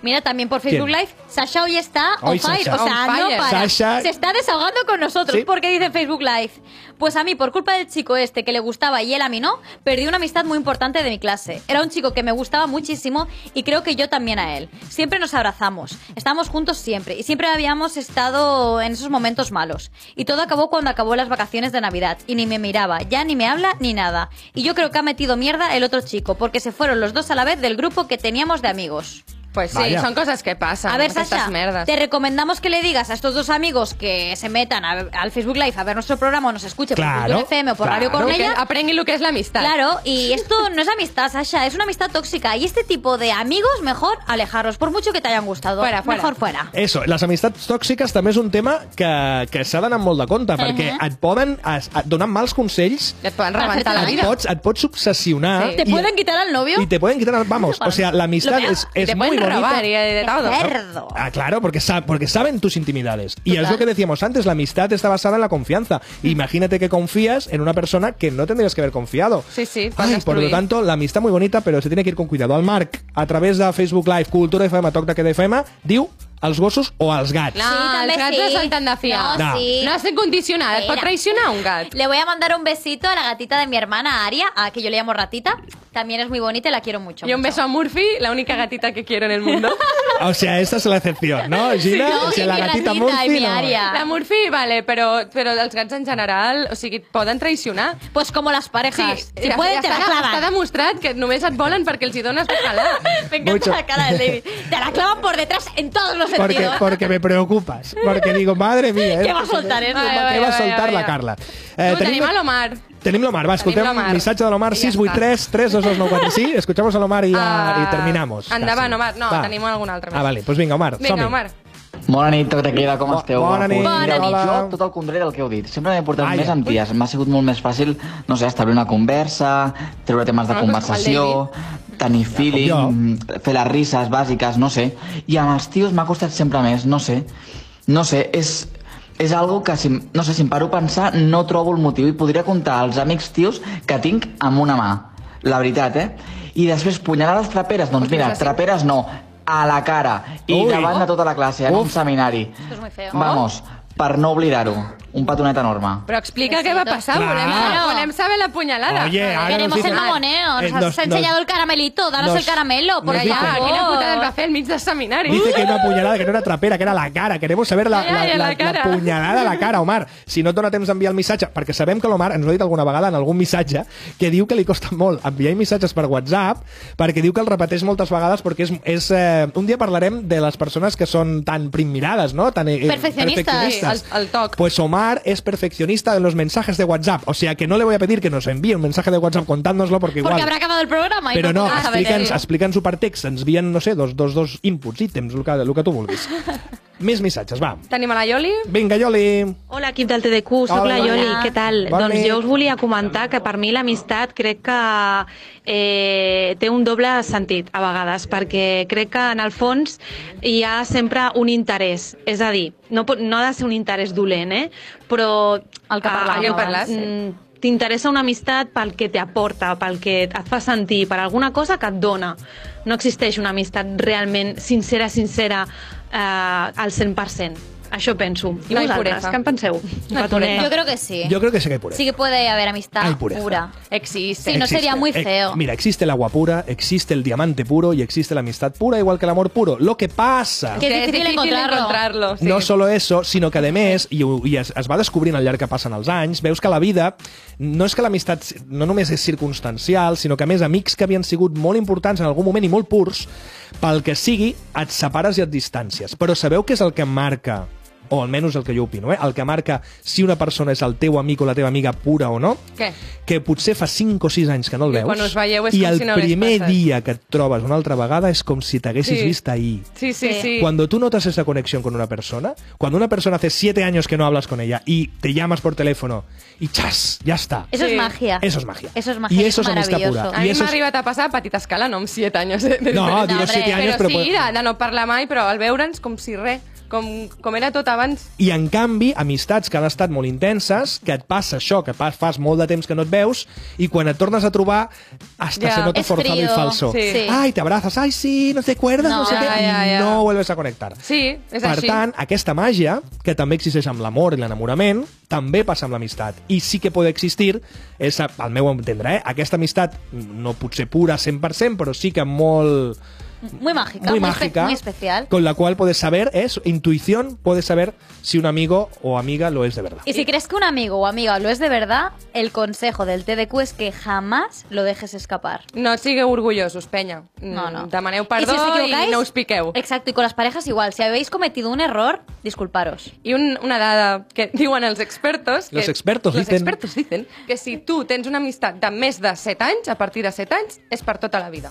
Mira, también por Facebook ¿Quién? Live, Sasha hoy está on Hoy fire. Sasha. O sea, On no fire. para. Sasha- Se está desahogando con nosotros Sí. porque dice en Facebook Live. Pues a mí, por culpa del chico este que le gustaba y él a mí no, perdí una amistad muy importante de mi clase. Era un chico que me gustaba muchísimo y creo que yo también a él. Siempre nos abrazamos, estábamos juntos siempre y siempre habíamos estado en esos momentos malos. Y todo acabó cuando acabó las vacaciones de Navidad y ni me miraba, ya ni me habla ni nada. Y yo creo que ha metido mierda el otro chico porque se fueron los dos a la vez del grupo que teníamos de amigos. Pues sí, Vaya. són coses que passen. A ver, aquestes Sasha, merdes. te recomendamos que le digas a estos dos amigos que se metan a- al Facebook Live a ver nuestro programa o nos escuchen Claro, por Cultura FM o por Radio claro. Cornella. Que aprenguin lo que es la amistad. Claro, y esto no es amistad, Sasha, es una amistad tóxica. Y este tipo de amigos, mejor alejaros, por mucho que te hayan gustado. Mejor fuera. Eso, les amistats tòxiques també és un tema que, que s'ha d'anar amb molt de compte, perquè Ahà. et poden es, et donar mals consells, Et poden Per rebentar fer-te la la et vida. pots, et pots obsessionar... ¿Te i- pueden quitar al novio? Y te pueden quitar, vamos, o sea, la amistad Lo es, es peor. Te muy pueden bonita. robar y de todo. Qué cerdo. Ah, claro, porque, sa- porque saben tus intimidades. Y Total. Mm. es lo que decíamos antes, la amistad está basada en la confianza. Imagínate que confías en una persona que no tendrías que haber confiado. Sí, sí, Ay, por lo tanto, la amistad muy bonita, pero se tiene que ir con cuidado. Al Marc, a través de Facebook Live, Cultura FM, Toc de Queda FM, diu els gossos o els gats. No, els també gats sí. no són tan de fiar. No, No. sí. No has de condicionar, et pot Mira. traicionar un gat. Le voy a mandar un besito a la gatita de mi hermana, Aria, a que yo le llamo ratita. Te También es muy bonita y la quiero mucho. Y un beso a Murphy, la única gatita que quiero en el (laughs) mundo. (laughs) O sea, esta es la excepción, ¿no, Gina? o sea, la gatita Murphy, no. La Murphy, vale, però, però els gats en general, o sigui, et poden traicionar. Pues com les parejas. Sí, Si pueden, te la està, clavan. està demostrat que només et volen perquè els hi dones pecalar. Me encanta Mucho. la cara del David. Te la clavan por detrás en todos los Porque, sentidos. porque me preocupas. Porque digo, madre mía. Què va soltar, eh? Què Vaya, va vaya, soltar la vaya. Carla? Eh, no, tenim- tenim a l'Omar. Tenim l'Omar, va, escoltem Tenim l'Omar. el missatge de l'Omar, I ja 683 322 escuchamos a l'Omar i, ja, i terminamos. Endavant, Casi. Omar. No, Va. tenim algun altre. Ah, vale, doncs pues vinga, Omar, som-hi. Vinga, Omar. Bona nit, tot tranquil·la, com esteu? bona nit. Mira, Bona nit. Jo, tot el contrari del que heu dit. Sempre m'he portat més amb ties. M'ha sigut molt més fàcil, no sé, establir una conversa, treure temes de Ah, conversació, tenir feeling, fer les risses bàsiques, no sé. I amb els tios m'ha costat sempre més, no sé. No sé, és... És algo que, si, no sé, si em paro a pensar, no trobo el motiu i podria comptar els amics tios que tinc amb una mà. La veritat, eh? I després, punyalades traperes? Doncs mira, traperes no, a la cara i Ui. davant de tota la classe, en un seminari. es muy feo. Vamos, per no oblidar-ho. Un petonet enorme. Però explica què va passar. Clar. Volem, volem saber la punyalada. Oye, ara nos Queremos el dice- mamoneo. Nos Eh, has nos- enseñado nos- el caramelito. Danos nos- el caramelo, por Oh. nos dice- favor. Quina putada el va fer al mig del seminari. Dice que hay una puñalada que no era trapera, que era la cara. Queremos saber la, Ai, la, ai, la, la la cara. punyalada a la cara, Omar. Si no et dona temps d'enviar el missatge, perquè sabem que l'Omar ens ho ha dit alguna vegada en algun missatge, que diu que li costa molt enviar missatges per WhatsApp, perquè diu que el repeteix moltes vegades, perquè és... és eh, un dia parlarem de les persones que són tan primmirades, no? Tan, eh, Perfeccionistes. perfeccionistas. El, el toc. Pues Omar es perfeccionista de los mensajes de WhatsApp. O sea que no le voy a pedir que nos envíe un mensaje de WhatsApp contándonoslo porque igual. Porque habrá acabado el programa. y Però no, podrás saber. explica'ns explica supertext, ens envien, no sé, dos, dos, dos inputs, ítems, el que, el que tu vulguis. Més missatges, va. Tenim a la Ioli. Vinga, Ioli. Hola, equip del TDQ, sóc Hola, la Ioli. Ioli, què tal? Bona doncs nit. jo us volia comentar que per mi l'amistat crec que eh, té un doble sentit a vegades, perquè crec que en el fons hi ha sempre un interès, és a dir, no, pot- no ha de ser un interès dolent, eh? però el que parlàvem abans, Mm. sí. Mm, t'interessa una amistat pel que t'aporta, pel que et fa sentir, per alguna cosa que et dona. No existeix una amistat realment sincera, sincera, eh, al 100%. Això penso. I No hi vosaltres, pureza. què en penseu? No hay pureza. Yo creo que sí. ¿eh? Yo creo que sí que hay pureza. Sí que puede haber amistad Hay pureza. pura. Existe. Sí, no Existe. sería muy Eh, feo. mira, existe el agua pura, existe el diamante puro y existe la amistad pura, igual que el amor puro. Lo que pasa... Que es difícil, encontrarlo. encontrarlo, No solo eso, sinó que, a més, i, ho- i es, es va descobrint al llarg que passen els anys, veus que la vida no és que l'amistat si- no només és circumstancial, sinó que, a més, amics que havien sigut molt importants en algun moment i molt purs, pel que sigui, et separes i et distàncies. Però sabeu què és el que marca o almenys el que jo opino, eh? el que marca si una persona és el teu amic o la teva amiga pura o no, Què? que potser fa 5 o 6 anys que no el I veus, quan us veieu és i com el si no hagués primer passat. dia que et trobes una altra vegada és com si t'haguessis Sí. vist ahir. Sí, sí, sí. Cuando tú notas esa conexión con una persona, cuando una persona hace siete años que no hablas con ella y te llamas por teléfono y chas, ya está. Eso es magia. Eso es magia. Eso es magia. Y eso es amistad maravilloso. pura. A I mi eso m'ha és- arribat a passar a petita escala, no amb 7 anys. eh, de No, diferència. digo, siete años, però... però sí, puede- de, de no parlar mai, però al veure'ns com si res, com, com era tot abans. I, en canvi, amistats que han estat molt intenses, que et passa això, que pas, fas molt de temps que no et veus, i quan et tornes a trobar, hasta Ja. se nota És forzado frío, y falso. sí. Sí. Ai, te abrazas, ai, sí, no te acuerdas, no, No, no sé ja, què, ja, ja. i no vuelves a connectar. Sí, és per així. tant, aquesta màgia, que també existeix amb l'amor i l'enamorament, també passa amb l'amistat. I sí que pot existir, és, al meu entendre, eh, aquesta amistat no potser pura 100%, però sí que molt... Muy mágica. Muy espe- mágica. muy especial. Con la cual puedes saber, es intuición, puedes saber si un amigo o amiga lo es de verdad. Y si crees que un amigo o amiga lo es de verdad, el consejo del TDQ es que jamás lo dejes escapar. No sigueu orgullosos, penya. No, no. Mm, Demaneu perdó os i, equivocáis, no us piqueu. Exacto, y con las parejas igual. Si habéis cometido un error, disculparos. I un, una dada que (laughs) diuen els expertos... Que, Los expertos los dicen- expertos dicen que si tu tens una amistat de més de 7 anys, a partir de 7 anys, és per tota la vida.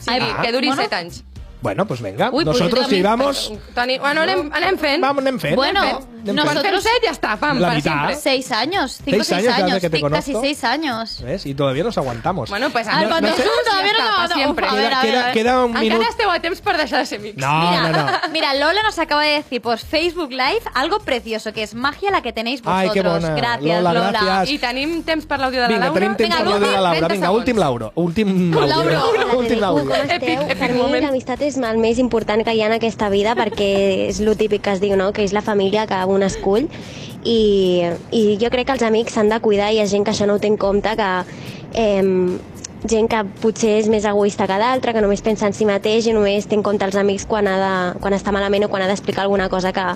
Sí, Ah. que duri Bueno. 7 anys. Bueno, pues venga, Uy, pues nosotros yo también- llevamos Toni, bueno, anem, anem fent. Vamos, anem fent, Bueno, anem fent, anem nosotros- Quan fer-ho set, ja està, pam, La per mitad. sempre. Seis años, cinco o Seis seis años ya años, desde que te sí, casi conozco. seis años. ¿Ves? Y todavía nos aguantamos. Bueno, pues... Al no (laughs) sé- Pantojudo, a ver, Ja està, no, no, per sempre. a ver, a ver, a Queda, ver. queda un minuto. Encara esteu a temps per deixar de ser amics. No, no, Mira, no. (laughs) mira, Lola nos acaba de decir por Facebook Live algo precioso, que es magia la que tenéis Ay, vosotros. qué bona. Gracias, Lola, Lola. gracias. I tenim temps per l'àudio de la Vinga, Laura? tenim temps per l'àudio de la Laura. Vinga, últim Laura. Últim Laura, Laura. Laura, Últim Com Laura. esteu? Per mi l'amistat és el més important que hi ha en aquesta vida perquè és el típic que es diu, no? que és la família que un escull i, i jo crec que els amics s'han de cuidar i hi ha gent que això no ho té en compte que eh, gent que potser és més egoista que d'altra, que només pensa en si mateix i només té en compte els amics quan, ha de, quan està malament o quan ha d'explicar alguna cosa que,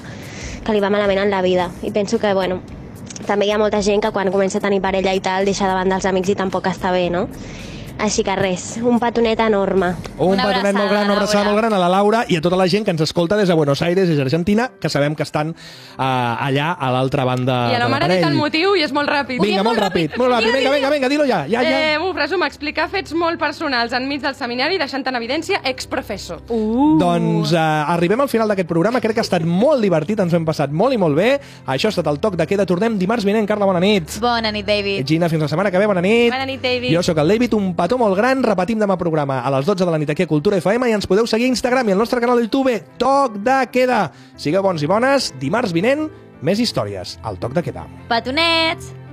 que li va malament en la vida. I penso que, bueno, també hi ha molta gent que quan comença a tenir parella i tal deixa de banda els amics i tampoc està bé, no? Així que res, un petonet enorme. Un petonet molt gran, una abraçada molt gran a la Laura i a tota la gent que ens escolta des de Buenos Aires, des d'Argentina, que sabem que estan eh, allà a l'altra banda I a la de mare ha dit el l'aparell. motiu i és molt ràpid. Vinga, molt ràpid, molt ràpid. Vinga, vinga, vinga, dilo ja. ja, ja. Eh, un resum, explicar fets molt personals enmig del seminari deixant en evidència exprofessor. Uh. Doncs eh, arribem al final d'aquest programa. Crec que ha estat molt divertit, ens ho hem passat molt i molt bé. Això ha estat el toc de queda. Tornem dimarts vinent. Carla, bona nit. Bona nit, David. Eh, Gina, fins la setmana que ve. Bona nit. Bona nit, David. Jo sóc el David, un petó molt gran. Repetim demà programa a les 12 de la nit aquí a Cultura FM i ens podeu seguir a Instagram i al nostre canal de YouTube. Toc de queda. Sigueu bons i bones. Dimarts vinent, més històries. El toc de queda. Petonets!